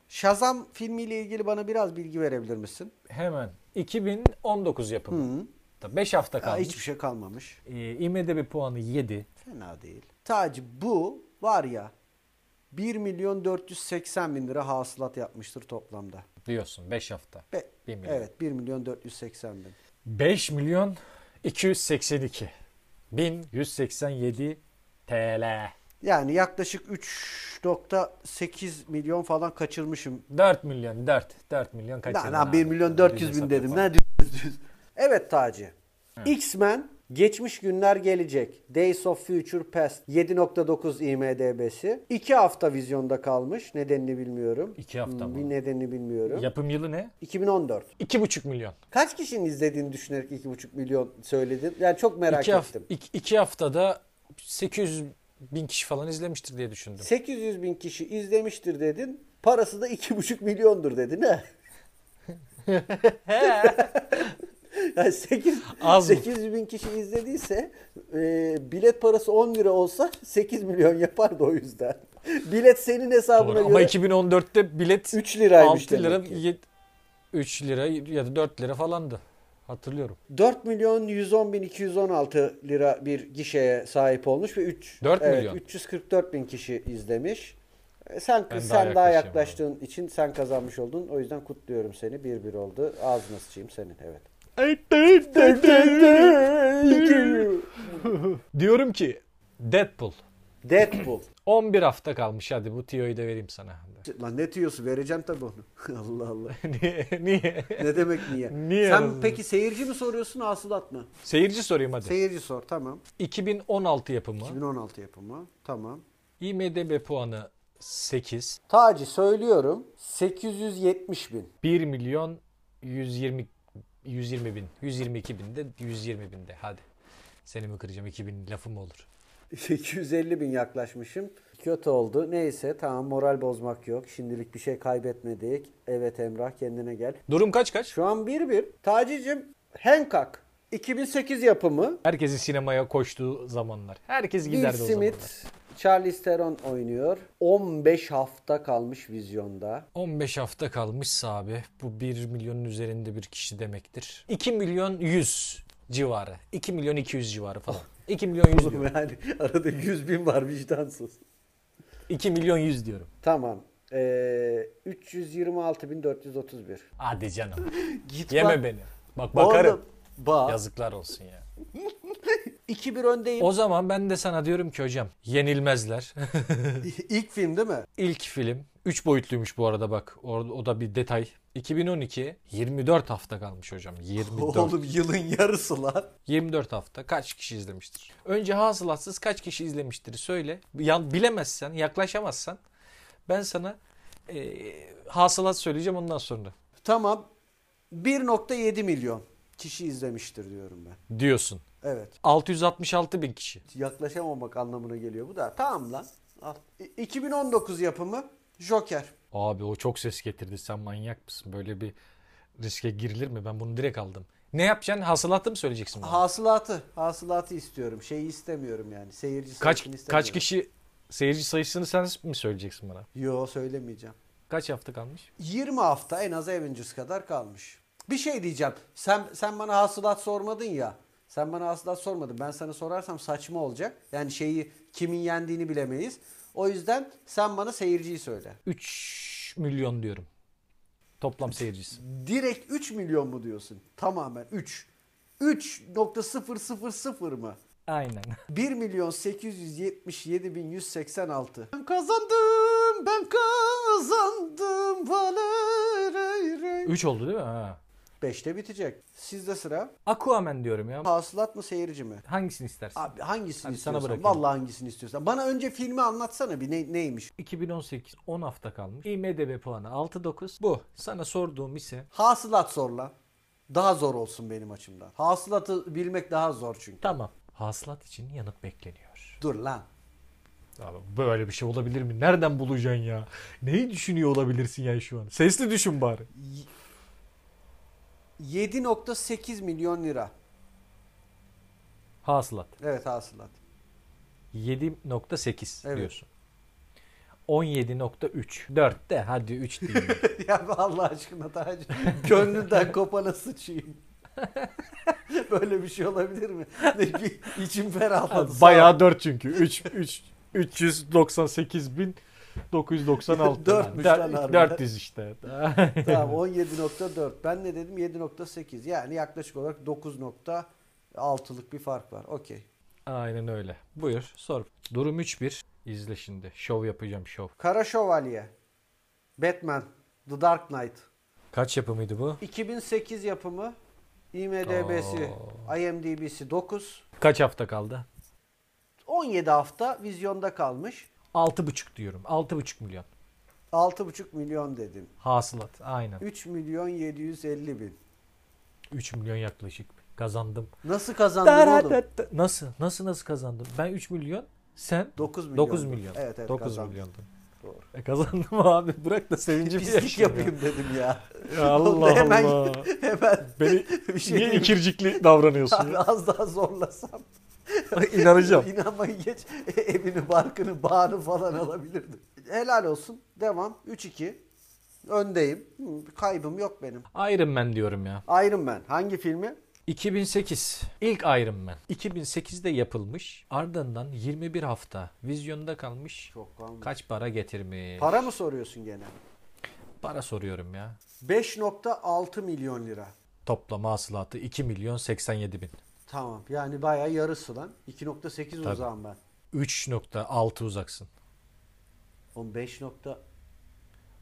Şazam filmiyle ilgili bana biraz bilgi verebilir misin? Hemen 2019 yapımı. 5 hafta Ya, kalmış. hiçbir şey kalmamış. Ee, IMDb puanı 7. Fena değil. Taci bu var ya 1 milyon 480 bin lira hasılat yapmıştır toplamda. Diyorsun 5 hafta. Be- Bir milyon. Evet 1 milyon 480 bin. 5 milyon 282 bin 187 TL. Yani yaklaşık 3.8 milyon falan kaçırmışım. 4 milyon 4. 4 milyon kaç? Lan, yılın lan 1 abi? milyon Düz 400 bin hesap dedim. yapalım. Ne diyorsun, düz? Evet Taci. X-Men Geçmiş Günler Gelecek Days of Future Past 7.9 IMDB'si. 2 hafta vizyonda kalmış. Nedenini bilmiyorum. İki hafta Hmm, mı? Bir nedenini bilmiyorum. Yapım yılı ne? 2014. 2,5 milyon. Kaç kişinin izlediğini düşünerek 2,5 milyon söyledin? Yani çok merak 2 ettim. haftada 800 bin kişi falan izlemiştir diye düşündüm. 800 bin kişi izlemiştir dedin. Parası da 2,5 milyondur dedin ha. yani 8, Az mı? 800 bin kişi izlediyse e, bilet parası 10 lira olsa 8 milyon yapardı o yüzden. Bilet senin hesabına Doğru. göre Ama 2014'te bilet 3 liraymış 6 lira, demek ki. 3 lira ya da 4 lira falandı. Hatırlıyorum. 4 milyon 110 bin 216 lira bir gişeye sahip olmuş ve 3 Dört milyon. 344 bin kişi izlemiş. E, Sen Ben sen daha daha, yaklaşayım yaklaştığın için sen kazanmış oldun. O yüzden kutluyorum seni. 1-1 oldu. Ağzına sıçayım senin. Evet. Diyorum ki Deadpool. Deadpool. 11 hafta kalmış hadi bu tiyoyu da vereyim sana. Lan ne diyorsun? Vereceğim tabii onu. Allah Allah. niye? Niye? Ne demek niye? Niye sen aradın? peki seyirci mi soruyorsun, hasılat mı? Seyirci sorayım hadi. Seyirci sor. Tamam. 2016 yapımı. 2016 yapımı. Tamam. IMDB puanı 8. Taci söylüyorum. 870 bin. 1 milyon 120 120 bin. 122 binde 120 binde hadi. Seni mi kıracağım 2000 lafım olur. 250 bin yaklaşmışım. Kötü oldu. Neyse tamam moral bozmak yok. Şimdilik bir şey kaybetmedik. Evet Emrah kendine gel. Durum kaç kaç? Şu an 1-1. Tacicim Hancock 2008 yapımı. Herkesin sinemaya koştuğu zamanlar. Herkes Will giderdi o zamanlar. Smith, Charlize Theron oynuyor. 15 hafta kalmış vizyonda. 15 hafta kalmışsa abi bu 1 milyonun üzerinde bir kişi demektir. 2 milyon 100 civarı. 2 milyon 200 civarı Oh. falan. 2 milyon 100 diyorum. yani arada 100 bin var vicdansız. 2 milyon 100 diyorum. Tamam. Ee, 326.431. Hadi canım. Git Yeme bak. beni. Bak bakarım. Oğlum, bak. Yazıklar olsun ya. 2-1 öndeyim. O zaman ben de sana diyorum ki hocam yenilmezler. İlk film değil mi? İlk film 3 boyutluymuş bu arada bak. O, o da bir detay. 2012 24 hafta kalmış hocam. 24. Oğlum yılın yarısı lan. 24 hafta kaç kişi izlemiştir? Önce hasılatsız kaç kişi izlemiştir söyle. Ya, bilemezsen, yaklaşamazsan ben sana e, hasılat söyleyeceğim ondan sonra Tamam. 1.7 milyon kişi izlemiştir diyorum ben. diyorsun. Evet. 666 bin kişi. Yaklaşamamak anlamına geliyor bu da. Tamam lan. Al. İ- 2019 yapımı Joker. Abi o çok ses getirdi. Sen manyak mısın? Böyle bir riske girilir mi? Ben bunu direkt aldım. Ne yapacaksın? Hasılatı mı söyleyeceksin bana? Hasılatı. Hasılatı istiyorum. Şeyi istemiyorum yani. Seyirci kaç sayısını istemiyorum. kaç kişi seyirci sayısını sen mi söyleyeceksin bana? Yo söylemeyeceğim. Kaç hafta kalmış? 20 hafta en az Avengers kadar kalmış. Bir şey diyeceğim. Sen sen bana hasılat sormadın ya. Sen bana hasılat sormadın. Ben sana sorarsam saçma olacak. Yani şeyi kimin yendiğini bilemeyiz. O yüzden sen bana seyirciyi söyle. 3 milyon diyorum. Toplam seyircisi. Direkt 3 milyon mu diyorsun? Tamamen 3. 3.000 mı? Aynen. 1 milyon 877 bin 186. Ben kazandım, ben kazandım. Valerey. 3 oldu değil mi? Ha. 5'te bitecek. Sizde sıra. Aquaman diyorum ya. Hasılat mı seyirci mi? Hangisini istersin? Abi hangisini Abi sana istiyorsan. bırakıyorum. Vallahi hangisini istiyorsan. Bana önce filmi anlatsana bir ne- neymiş. 2018 10 hafta kalmış. IMDB puanı 6.9. Bu. Sana sorduğum ise Hasılat sor lan. Daha zor olsun benim açımdan. Hasılatı bilmek daha zor çünkü. tamam. Hasılat için yanıt bekleniyor. Dur lan. Abi böyle bir şey olabilir mi? Nereden bulacaksın ya? Neyi düşünüyor olabilirsin ya şu an? Sesli düşün bari. 7.8 milyon lira. Hasılat. Evet hasılat. 7.8 Evet. diyorsun. 17.3. 4 de hadi 3 diyeyim. ya Allah aşkına Taci. Gönlünden kopana sıçayım. Böyle bir şey olabilir mi? Ne ki içim ferahladı. sağ ol. Bayağı 4 çünkü. 3 3 398 bin 996. Dörtmüş lan harbiden. 400 işte. Tamam 17.4. Ben ne dedim? 7.8. Yani yaklaşık olarak 9.6'lık bir fark var. Okey. Aynen öyle. Buyur sor. Durum 3-1. İzle şimdi. Şov yapacağım şov. Kara Şövalye. Batman. The Dark Knight. Kaç yapımıydı bu? 2008 yapımı. IMDB'si, IMDb'si 9. Kaç hafta kaldı? 17 hafta vizyonda kalmış. 6,5 diyorum. 6,5 milyon. 6,5 milyon dedin. Hasılat. Aynen. 3 milyon 750 bin. 3 milyon yaklaşık. Kazandım. Nasıl kazandın oğlum? Nasıl? Nasıl nasıl kazandım? Ben 3 milyon. Sen 9 milyon. 9 milyon. Evet evet 9 kazandın. milyondu. Doğru. E kazandım abi. Bırak da sevinci bir Pislik yapayım dedim ya. şey Allah Hemen- Allah. Hemen Beni bir şey niye diyeyim. ikircikli davranıyorsun? Abi ya? az daha zorlasam. İnanacağım. İnanmayı geç e, evini, barkını, bağını falan alabilirdim. Helal olsun. Devam. 3-2. Öndeyim. Hı, Kaybım yok benim. Iron Man diyorum ya. Iron Man. Hangi filmi? 2008. İlk Iron Man. 2008'de yapılmış. Ardından 21 hafta vizyonda kalmış. Çok kalmış. Kaç para getirmiş? Para mı soruyorsun gene? Para soruyorum ya. 5.6 milyon lira. Toplam hasılatı 2 milyon 87 bin. Tamam. Yani bayağı yarısı lan. 2.8 o Tabii. zaman ben. 3.6 uzaksın. Oğlum 5. nokta-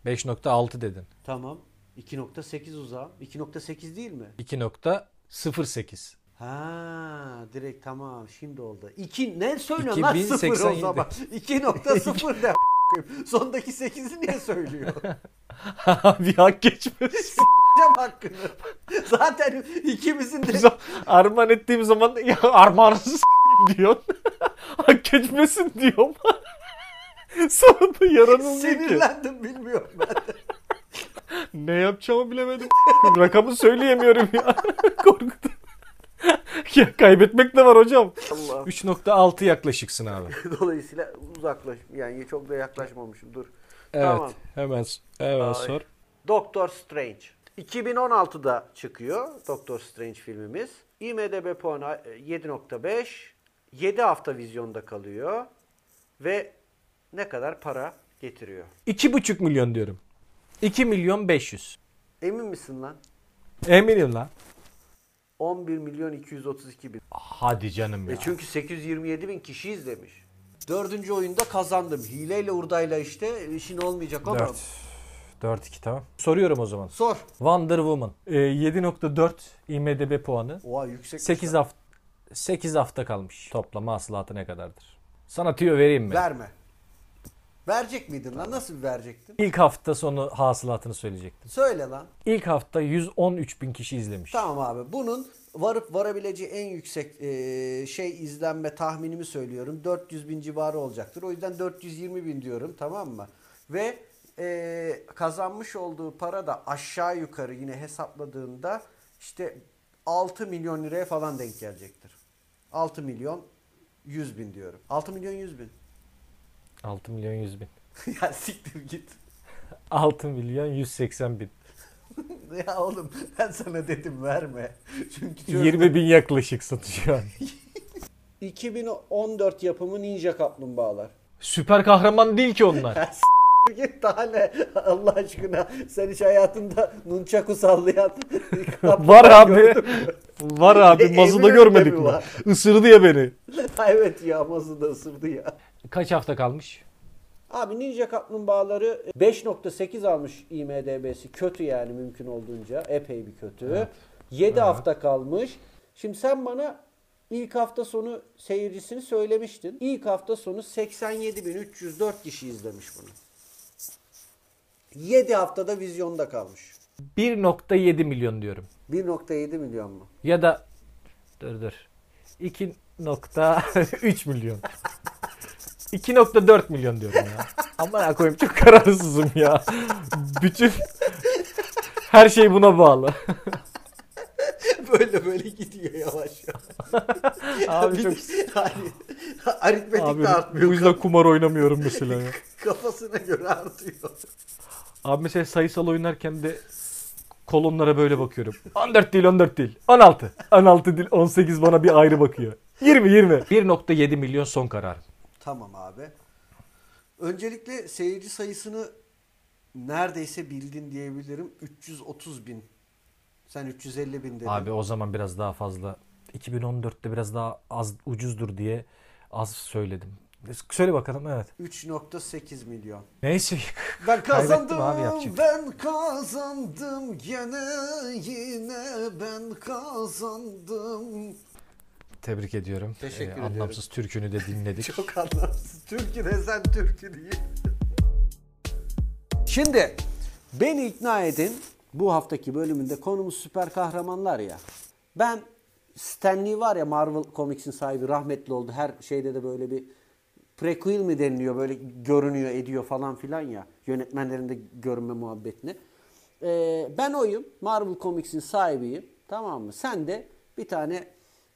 5.6 dedin. Tamam. 2.8 uzağım. 2.8 değil mi? 2.08. Ha, direkt tamam şimdi oldu. 2 ne söylüyorsun lan 0 o 2087. zaman. 2.0 ne a**ayım? Sondaki 8'i niye söylüyor? Abi hak geçmez. Cem hakkını. Zaten ikimizin de Biz o- armağan ettiğim zaman ya armağansız diyor. hak geçmesin diyorum. Sonra da yaranılmıyor ki. sinirlendim bilmiyorum ben. Ne yapacağımı bilemedim. Rakamı söyleyemiyorum ya. Korktum. ya kaybetmek de var hocam. 3.6 yaklaşıksın abi. Dolayısıyla uzaklaş yani çok da yaklaşmamışım dur. Evet. Tamam. Hemen, hemen sor. Doctor Strange. 2016'da çıkıyor Doctor Strange filmimiz. IMDb puanı e, 7.5. 7 hafta vizyonda kalıyor. Ve ne kadar para getiriyor? 2.5 milyon diyorum. 2 milyon 500. Emin misin lan? Eminim lan. 11 milyon 232 bin. Hadi canım ya. E çünkü 827 bin kişi izlemiş. Dördüncü oyunda kazandım. Hileyle hurdayla işte e, işin olmayacak ama. 4-2 tamam. Soruyorum o zaman. Sor. Wonder Woman. Ee, 7.4 IMDB puanı. Oha yüksek. 8 hafta 8 hafta kalmış. Toplam hasılatı ne kadardır? Sana tüyo vereyim mi? Verme. Verecek miydin lan? Nasıl bir verecektin? İlk hafta sonu hasılatını söyleyecektim. Söyle lan. İlk hafta 113 bin kişi izlemiş. Tamam abi. Bunun varıp varabileceği en yüksek e, şey izlenme tahminimi söylüyorum. 400 bin civarı olacaktır. O yüzden 420 bin diyorum tamam mı? Ve e, kazanmış olduğu para da aşağı yukarı yine hesapladığında işte 6 milyon liraya falan denk gelecektir. 6 milyon 100 bin diyorum. 6 milyon 100 bin. 6 milyon 100 bin. ya siktir git. 6 milyon 180 bin. ya oğlum ben sana dedim verme. Çünkü çok- 20 bin yaklaşık satıyor. 2014 yapımı Ninja Kaplumbağalar. Süper kahraman değil ki onlar. Git daha ne? Allah aşkına sen hiç hayatında nunchaku sallayan var abi. Var abi. Emin Mazıda önünde görmedik mi mi? var? Isırdı ya beni. evet ya masada ısırdı ya. Kaç hafta kalmış? Abi Ninja Kaplumbağaları e, 5.8 almış IMDB'si. Kötü yani mümkün olduğunca. Epey bir kötü. 7 hafta kalmış. Şimdi sen bana ilk hafta sonu seyircisini söylemiştin. İlk hafta sonu 87.304 kişi izlemiş bunu. 7 haftada vizyonda kalmış. 1.7 milyon diyorum. 1.7 milyon mu? Ya da dur dur. 2.3 milyon. 2.4 milyon diyorum ya. Aman ha koyayım çok kararsızım ya. Bütün her şey buna bağlı. böyle böyle gidiyor yavaş yavaş. Abi Bir- çok hani aritmetik abi de bu artmıyor. yüzden kumar oynamıyorum mesela ya. Kafasına göre artıyor. Abi mesela sayısal oynarken de kolonlara böyle bakıyorum. 14 değil 14 değil. 16. 16 değil 18 bana bir ayrı bakıyor. 20 20. 1.7 milyon son karar. Tamam abi. Öncelikle seyirci sayısını neredeyse bildin diyebilirim. 330 bin. Sen 350 bin dedin. Abi o zaman biraz daha fazla 2014'te biraz daha az ucuzdur diye az söyledim. Söyle bakalım evet. 3.8 milyon. Neyse Ben kazandım. abi, yapacak. şey ben kazandım gene yine ben kazandım. tebrik ediyorum. Teşekkür Ee, ediyorum. anlamsız türkünü de dinledik. Çok anlamsız. Türkü desen türkü değil. Şimdi beni ikna edin. Bu haftaki bölümünde konumuz süper kahramanlar ya. Ben Stan Lee var ya Marvel Comics'in sahibi rahmetli oldu. Her şeyde de böyle bir prequel mi deniliyor böyle görünüyor ediyor falan filan ya. Yönetmenlerin de görünme muhabbetini. Ee, ben oyum. Marvel Comics'in sahibiyim. Tamam mı? Sen de bir tane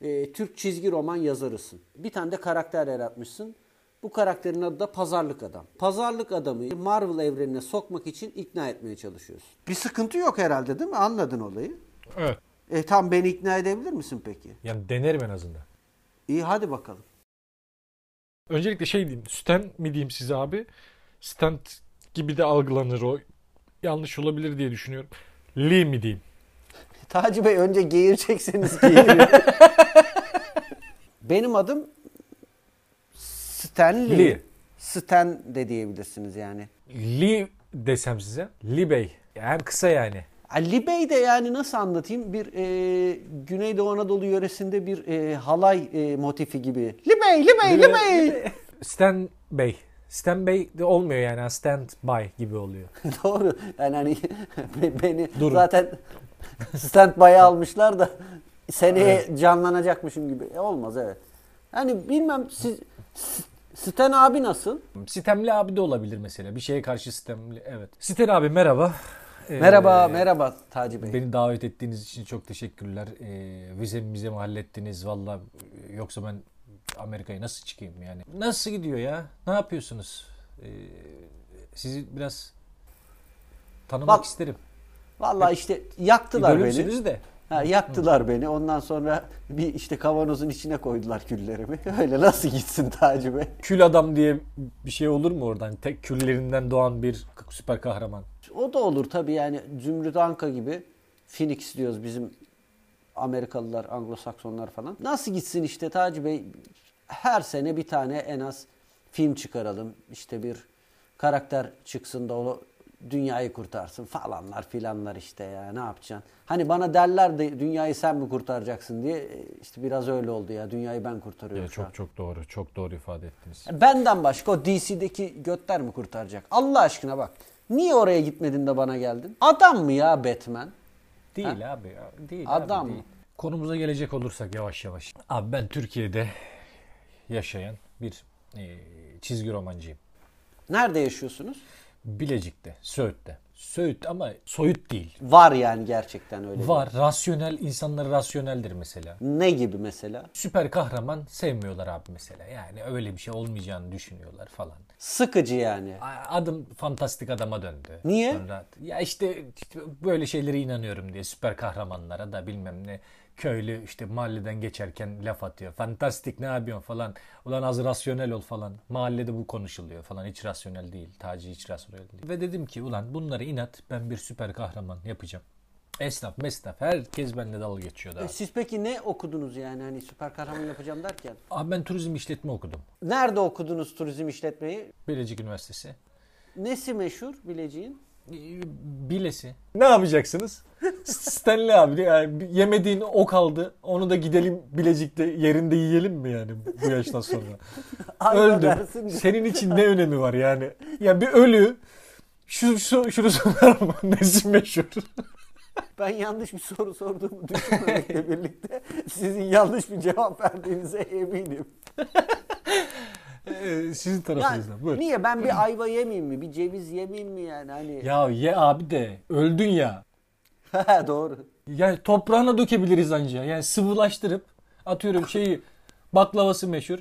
e, Türk çizgi roman yazarısın. Bir tane de karakter yaratmışsın. Bu karakterin adı da Pazarlık Adam. Pazarlık Adam'ı Marvel evrenine sokmak için ikna etmeye çalışıyorsun. Bir sıkıntı yok herhalde değil mi? Anladın olayı. Evet. E tam beni ikna edebilir misin peki? Yani denerim en azından. İyi hadi bakalım. Öncelikle şey diyeyim. Stent mi diyeyim size abi? Stent gibi de algılanır o. Yanlış olabilir diye düşünüyorum. Lee mi diyeyim? Taci Bey önce giyirecekseniz giyirin. Benim adım Stanley. Lee. Stan de diyebilirsiniz yani. Li desem size. Li Bey. Hem kısa yani. Ali Bey de yani nasıl anlatayım bir e, Güneydoğu Anadolu yöresinde bir e, halay e, motifi gibi. Libey, Libey, Libey. Stan Bey. Stan Bey de olmuyor yani. Stand by gibi oluyor. Doğru. Yani hani be- beni zaten stand by'a almışlar da seneye canlanacakmışım gibi. E, olmaz evet. Hani bilmem siz S- Stan abi nasıl? Sitemli abi de olabilir mesela. Bir şeye karşı sitemli. Evet. Siten abi merhaba. Ee, Merhaba, merhaba Taci Bey. Beni davet ettiğiniz için çok teşekkürler. Ee, vizemi bize mi hallettiniz valla e, yoksa ben Amerika'ya nasıl çıkayım yani. Nasıl gidiyor ya? Ne yapıyorsunuz? Ee, sizi biraz tanımak Bak, isterim. Vallahi işte yaktılar beni. İdolümsünüz de. Ha, yaktılar beni. Ondan sonra bir işte kavanozun içine koydular küllerimi. Öyle nasıl gitsin Taci Bey? Kül adam diye bir şey olur mu oradan? Tek küllerinden doğan bir süper kahraman. O da olur tabii yani Zümrüt Anka gibi Phoenix diyoruz bizim Amerikalılar, Anglo-Saksonlar falan. Nasıl gitsin işte Taci Bey? Her sene bir tane en az film çıkaralım. İşte bir karakter çıksın da onu dünyayı kurtarsın falanlar filanlar işte ya ne yapacaksın? Hani bana derler de dünyayı sen mi kurtaracaksın diye e, işte biraz öyle oldu ya dünyayı ben kurtarıyorum şu an. çok çok doğru. Çok doğru ifade ettiniz. Benden başka o DC'deki götler mi kurtaracak? Allah aşkına bak. Niye oraya gitmedin de bana geldin? Adam mı ya Batman? Değil abi. ya, Değil Adam abi, değil. mı? Konumuza gelecek olursak yavaş yavaş. Abi ben Türkiye'de yaşayan bir e, çizgi romancıyım. Nerede yaşıyorsunuz? Bilecik'te, Söğüt'te. Söğüt ama soyut değil. Var yani gerçekten öyle. bir- Var, rasyonel, insanlar rasyoneldir mesela. Ne gibi mesela? Süper kahraman sevmiyorlar abi mesela. Yani öyle bir şey olmayacağını düşünüyorlar falan. Sıkıcı yani. A- Adım fantastik adama döndü. Niye? Sonra, ya işte, işte böyle şeylere inanıyorum diye süper kahramanlara da bilmem ne köylü işte mahalleden geçerken laf atıyor. Fantastik ne yapıyorsun falan. Ulan az rasyonel ol falan. Mahallede bu konuşuluyor falan. Hiç rasyonel değil. Taci hiç rasyonel değil. Ve dedim ki ulan bunlara inat ben bir süper kahraman yapacağım. Esnaf, mesnaf. Herkes benimle dalga geçiyordu abi. Siz peki ne okudunuz yani hani süper kahraman yapacağım derken? Abi "Ah, ben turizm işletme okudum. Nerede okudunuz turizm işletmeyi? Bilecik Üniversitesi. Ee, Nesi meşhur Bilecik'in? Bilesi. Ne yapacaksınız? Stanley abi yani yemediğin o kaldı. Onu da gidelim Bilecik'te yerinde yiyelim mi yani bu yaştan sonra? Ayva Öldü. dersin diye. Senin için ne önemi var yani? Ya bir ölü şu, şu, şunu sorar mı? Nesi meşhur? Ben yanlış bir soru sorduğumu düşünmemekle birlikte sizin yanlış bir cevap verdiğinize eminim. Ee, Sizin Ya, tarafınızdan. Buyurun. niye ben bir ayva yemeyeyim mi? Bir ceviz yemeyeyim mi yani? Hani Ya ye abi de öldün ya. Ha, doğru. Yani toprağına dökebiliriz anca. Yani sıvılaştırıp atıyorum şeyi baklavası meşhur.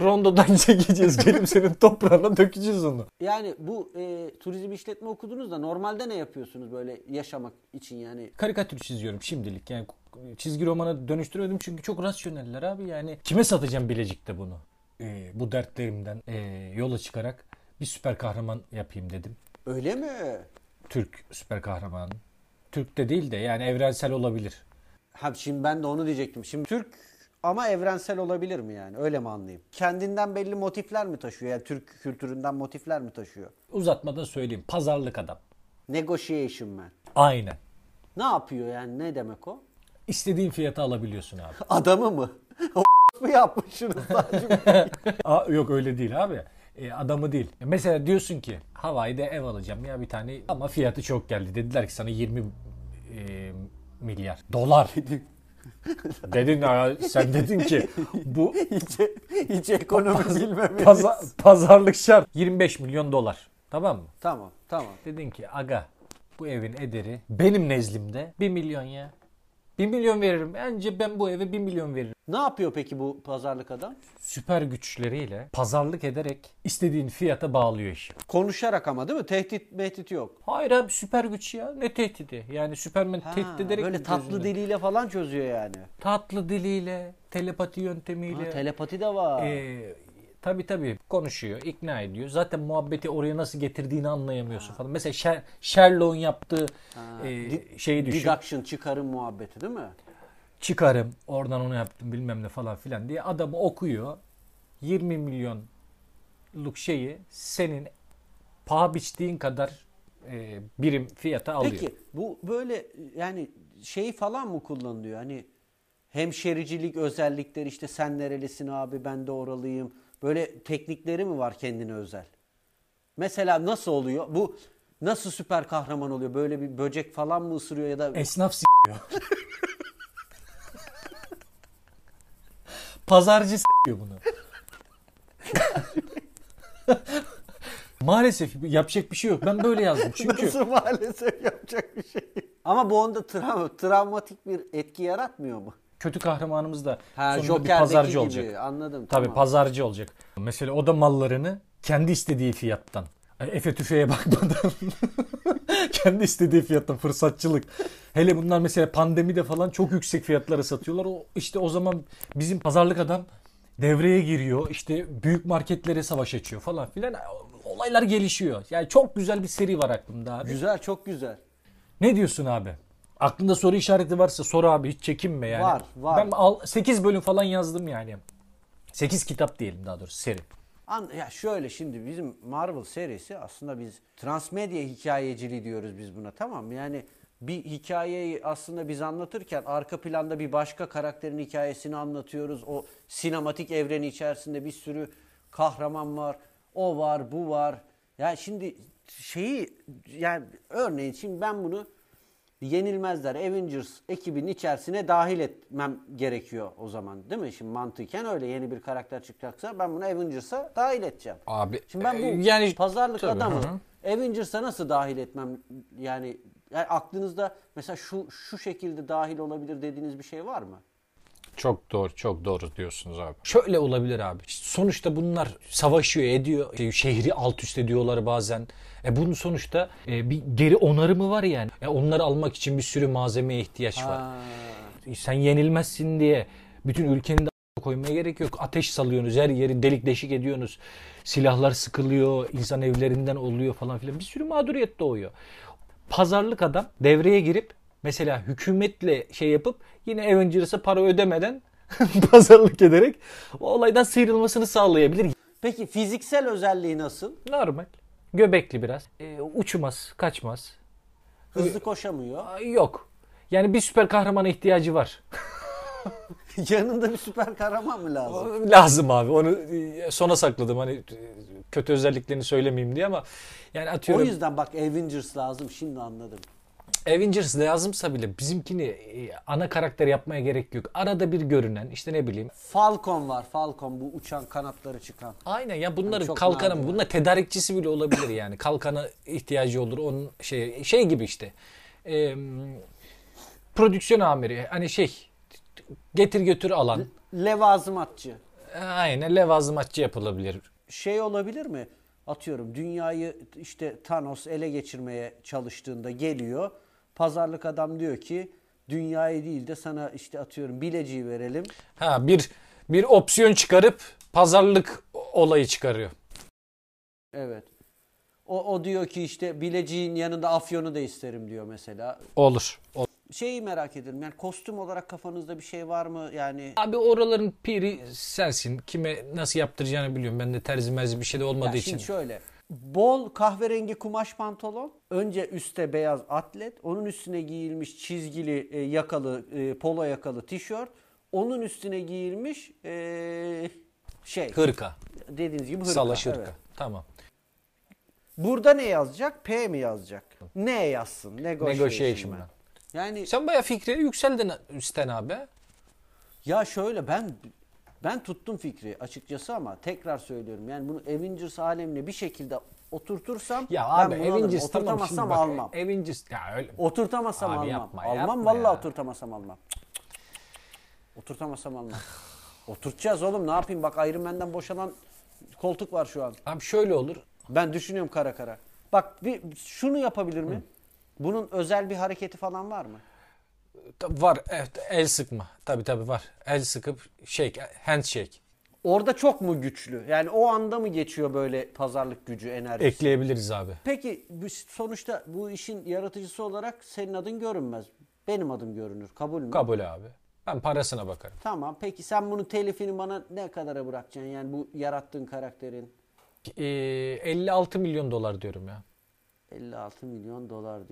Rondodan çekeceğiz gelip senin toprağına dökeceğiz onu. Yani bu e, turizm işletme okudunuz da normalde ne yapıyorsunuz böyle yaşamak için yani? Karikatür çiziyorum şimdilik. Yani çizgi romana dönüştürmedim çünkü çok rasyoneller abi. Yani kime satacağım Bilecik'te bunu? Ee, bu dertlerimden ee, yola çıkarak bir süper kahraman yapayım dedim. Öyle mi? Türk süper kahramanı. Türk de değil de yani evrensel olabilir. Ha şimdi ben de onu diyecektim. Şimdi Türk ama evrensel olabilir mi yani? Öyle mi anlayayım? Kendinden belli motifler mi taşıyor? Yani Türk kültüründen motifler mi taşıyor? Uzatmadan söyleyeyim. Pazarlık adam. Negotiation man. Aynen. Ne yapıyor yani? Ne demek o? İstediğin fiyata alabiliyorsun abi. Adamı mı? O mu yapmışsınız? Aa, yok öyle değil abi. E, adamı değil. E, Mesela diyorsun ki Hawaii'de ev alacağım ya bir tane ama fiyatı çok geldi. Dediler ki sana 20 e, milyar dolar. dedin ya, sen dedin ki bu hiç, hiç ekonomi bilmemiz. paza- pazarlık şart 25 milyon dolar. Tamam mı? Tamam tamam. Dedin ki aga bu evin ederi benim nezdimde 1 milyon ya. 1 milyon veririm. Bence ben bu eve 1 milyon veririm. Ne yapıyor peki bu pazarlık adam? Süper güçleriyle pazarlık ederek istediğin fiyata bağlıyor işi. Konuşarak ama değil mi? Tehdit mehdit yok. Hayır abi süper güç ya. Ne tehdidi? Yani Superman Ha, tehdit ederek böyle mi tatlı gözünü- diliyle falan çözüyor yani. Tatlı diliyle, telepati Ha, yöntemiyle. telepati de var. Ee, tabii tabii konuşuyor, ikna ediyor. Zaten muhabbeti oraya nasıl getirdiğini anlayamıyorsun falan. Mesela Sher- Sherlock'un yaptığı e, şeyi düşün. Deduction çıkarım muhabbeti değil mi? Çıkarım, oradan onu yaptım bilmem ne falan filan diye adamı okuyor. 20 milyonluk şeyi senin paha biçtiğin kadar e, birim fiyata alıyor. Peki bu böyle yani şey falan mı kullanılıyor? Hani hemşericilik özellikleri işte sen nerelisin abi ben de oralıyım. Böyle teknikleri mi var kendine özel? Mesela nasıl oluyor? Bu nasıl süper kahraman oluyor? Böyle bir böcek falan mı ısırıyor ya da Esnaf s***yor. Pazarcı s***yor bunu. Maalesef yapacak bir şey yok. Ben böyle yazdım. Çünkü Nasıl maalesef yapacak bir şey. Ama bu onda tra- travmatik bir etki yaratmıyor mu? kötü kahramanımız da Ha, sonunda bir Joker'deki pazarcı gibi. olacak. Anladım. Tabii tamam. pazarcı olacak. Mesela o da mallarını kendi istediği fiyattan. E, Efe tüfeğe bakmadan. kendi istediği fiyattan fırsatçılık. Hele bunlar mesela pandemide falan çok yüksek fiyatlara satıyorlar. O işte o zaman bizim pazarlık adam devreye giriyor. İşte büyük marketlere savaş açıyor falan filan. Olaylar gelişiyor. Yani çok güzel bir seri var aklımda abi. Güzel çok güzel. Ne diyorsun abi? Aklında soru işareti varsa sor abi hiç çekinme yani. Var, var. Ben al, 8 bölüm falan yazdım yani. 8 kitap diyelim daha doğrusu seri. An ya şöyle şimdi bizim Marvel serisi aslında biz transmedya hikayeciliği diyoruz biz buna tamam mı? Yani bir hikayeyi aslında biz anlatırken arka planda bir başka karakterin hikayesini anlatıyoruz. O sinematik evreni içerisinde bir sürü kahraman var. O var, bu var. Ya şimdi şeyi yani örneğin şimdi ben bunu yenilmezler Avengers ekibinin içerisine dahil etmem gerekiyor o zaman değil mi? Şimdi mantıken öyle yeni bir karakter çıkacaksa ben bunu Avengers'a dahil edeceğim. Abi, Şimdi ben bu e, yani- pazarlık Tabii, adamı hı Avengers'a nasıl dahil etmem yani, yani aklınızda mesela şu şu şekilde dahil olabilir dediğiniz bir şey var mı? Çok doğru, çok doğru diyorsunuz abi. Şöyle olabilir abi. Sonuçta bunlar savaşıyor, ediyor. İşte Şehri alt üst ediyorlar bazen. E bunun sonuçta e, bir geri onarımı var yani. E onları almak için bir sürü malzemeye ihtiyaç var. E, Sen yenilmezsin diye bütün ülkenin de a- koymaya gerek yok. Ateş salıyorsunuz, her yeri delik deşik ediyorsunuz. Silahlar sıkılıyor, insan evlerinden oluyor falan filan. Bir sürü mağduriyet doğuyor. Pazarlık adam devreye girip Mesela hükümetle şey yapıp yine Avengers'a para ödemeden pazarlık ederek o olaydan sıyrılmasını sağlayabilir. Peki fiziksel özelliği nasıl? Normal. Göbekli biraz. Ee, uçmaz, kaçmaz. Hızlı koşamıyor. Ay, Yok. Yani bir süper kahramana ihtiyacı var. Yanında bir süper kahraman mı lazım? Lazım abi. Onu e, sona sakladım. Hani e, kötü özelliklerini söylemeyeyim diye ama yani O atıyorum yüzden bak Avengers lazım şimdi anladım. Avengers lazımsa bile bizimkini e, ana karakter yapmaya gerek yok. Arada bir görünen işte ne bileyim. Falcon var Falcon bu uçan kanatları çıkan. Aynen ya bunların çok kalkanı nadir. bunlar tedarikçisi bile olabilir yani. Kalkana ihtiyacı olur onun şey şey gibi işte. E, prodüksiyon amiri hani şey getir götür alan. Levazımatçı. Aynen levazımatçı yapılabilir. Şey olabilir mi? Atıyorum dünyayı işte Thanos ele geçirmeye çalıştığında geliyor. Pazarlık adam diyor ki dünyayı değil de sana işte atıyorum bileciği verelim. Ha bir bir opsiyon çıkarıp pazarlık olayı çıkarıyor. Evet. O, o diyor ki işte bileciğin yanında afyonu da isterim diyor mesela. Olur. Olur. Şeyi merak ediyorum yani kostüm olarak kafanızda bir şey var mı? Yani Abi oraların piri sensin. Kime nasıl yaptıracağını biliyorum. Ben de terzi merzi bir şey de olmadığı Ya için. Şimdi şöyle. Bol kahverengi kumaş pantolon. Önce üste beyaz atlet. Onun üstüne giyilmiş çizgili e, yakalı, e, polo yakalı tişört. Onun üstüne giyilmiş e, şey. Hırka. dediğiniz gibi hırka. Salaş hırka. evet. Tamam. Burada ne yazacak? P mi yazacak? Ne yazsın? Negotiation. Negotiation man. man. Yani Sen bayağı fikri yükseldin üstten abi. ya şöyle ben ben tuttum fikri açıkçası ama tekrar söylüyorum. Yani bunu Avengers alemine bir şekilde oturtursam Ya ben abi bunu alırım. Avengers tamam şimdi Oturtamazsam bak. almam. Avengers ya öyle. Oturtamasam Abi almam. yapma, almam yapma vallahi ya. oturtamasam almam. Cık, cık, cık. Oturtamasam almam. Oturtacağız oğlum ne yapayım bak Iron Man'den boşalan koltuk var şu an. Abi şöyle olur. Ben düşünüyorum kara kara. Bak bir şunu yapabilir mi? Bunun özel bir hareketi falan var mı? Ta- Var evet, el sıkma. Tabii tabii var. El sıkıp shake, handshake. Orada çok mu güçlü? Yani o anda mı geçiyor böyle pazarlık gücü, enerjisi? Ekleyebiliriz abi. Peki bu- sonuçta bu işin yaratıcısı olarak senin adın görünmez. Benim adım görünür. Kabul mü? Kabul abi. Ben parasına bakarım. Tamam. Peki sen bunun telifini bana ne kadara bırakacaksın? Yani bu yarattığın karakterin Ee, 56 milyon dolar diyorum ya. 56 milyon dolar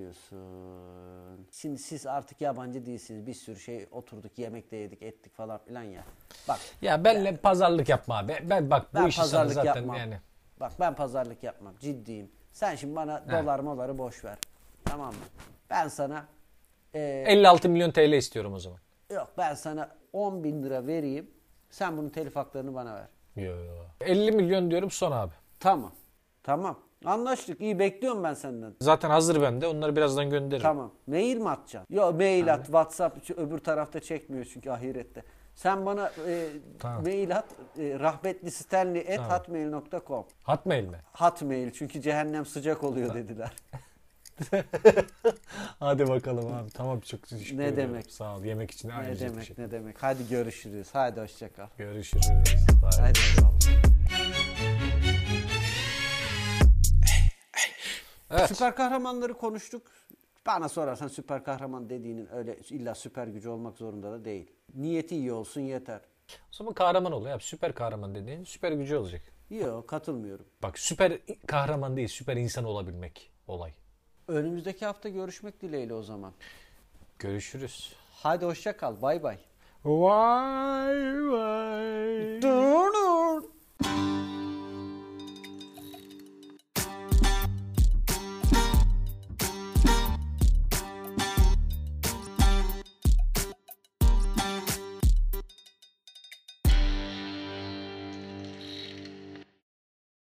diyorsun. Şimdi siz artık yabancı değilsiniz. Bir sürü şey oturduk, yemek de yedik, ettik falan filan ya. Bak Ya benle pazarlık yapma abi. Ben bak bu ben işi sana pazarlık zaten yapmam. yani. Bak ben pazarlık yapmam. Ciddiyim. Sen şimdi bana dolar moları boş ver. Tamam mı? Ben sana eee, 56 milyon TL istiyorum o zaman. yok ben sana 10 bin lira vereyim. Sen bunun telif haklarını bana ver. Yo. 50 milyon diyorum son abi. Tamam. Tamam. Anlaştık. İyi bekliyorum ben senden. Zaten hazır bende. Onları birazdan gönderirim. Tamam. Mail mi atacaksın? Yok mail at. WhatsApp ç- öbür tarafta çekmiyor çünkü ahirette. Sen bana e, Tamam. mail at. E, rahmetli Stanley et hotmail.com. Hotmail mi? Hotmail çünkü cehennem sıcak oluyor dediler. Hadi bakalım abi. Tamam çok teşekkür Ne ediyorum. demek? Sağ ol. Yemek için ne ayrıca demek teşekkür ne demek. Hadi görüşürüz. Hadi hoşça kal. Görüşürüz. Bye. Hadi. eyvallah. Evet. Süper kahramanları konuştuk. Bana sorarsan süper kahraman dediğinin öyle illa süper gücü olmak zorunda da değil. Niyeti iyi olsun yeter. O zaman kahraman oluyor abi. Süper kahraman dediğin süper gücü olacak. Yok katılmıyorum. Bak süper kahraman değil süper insan olabilmek olay. Önümüzdeki hafta görüşmek dileğiyle o zaman. Görüşürüz. Hadi hoşça kal. Bay bay. Vay.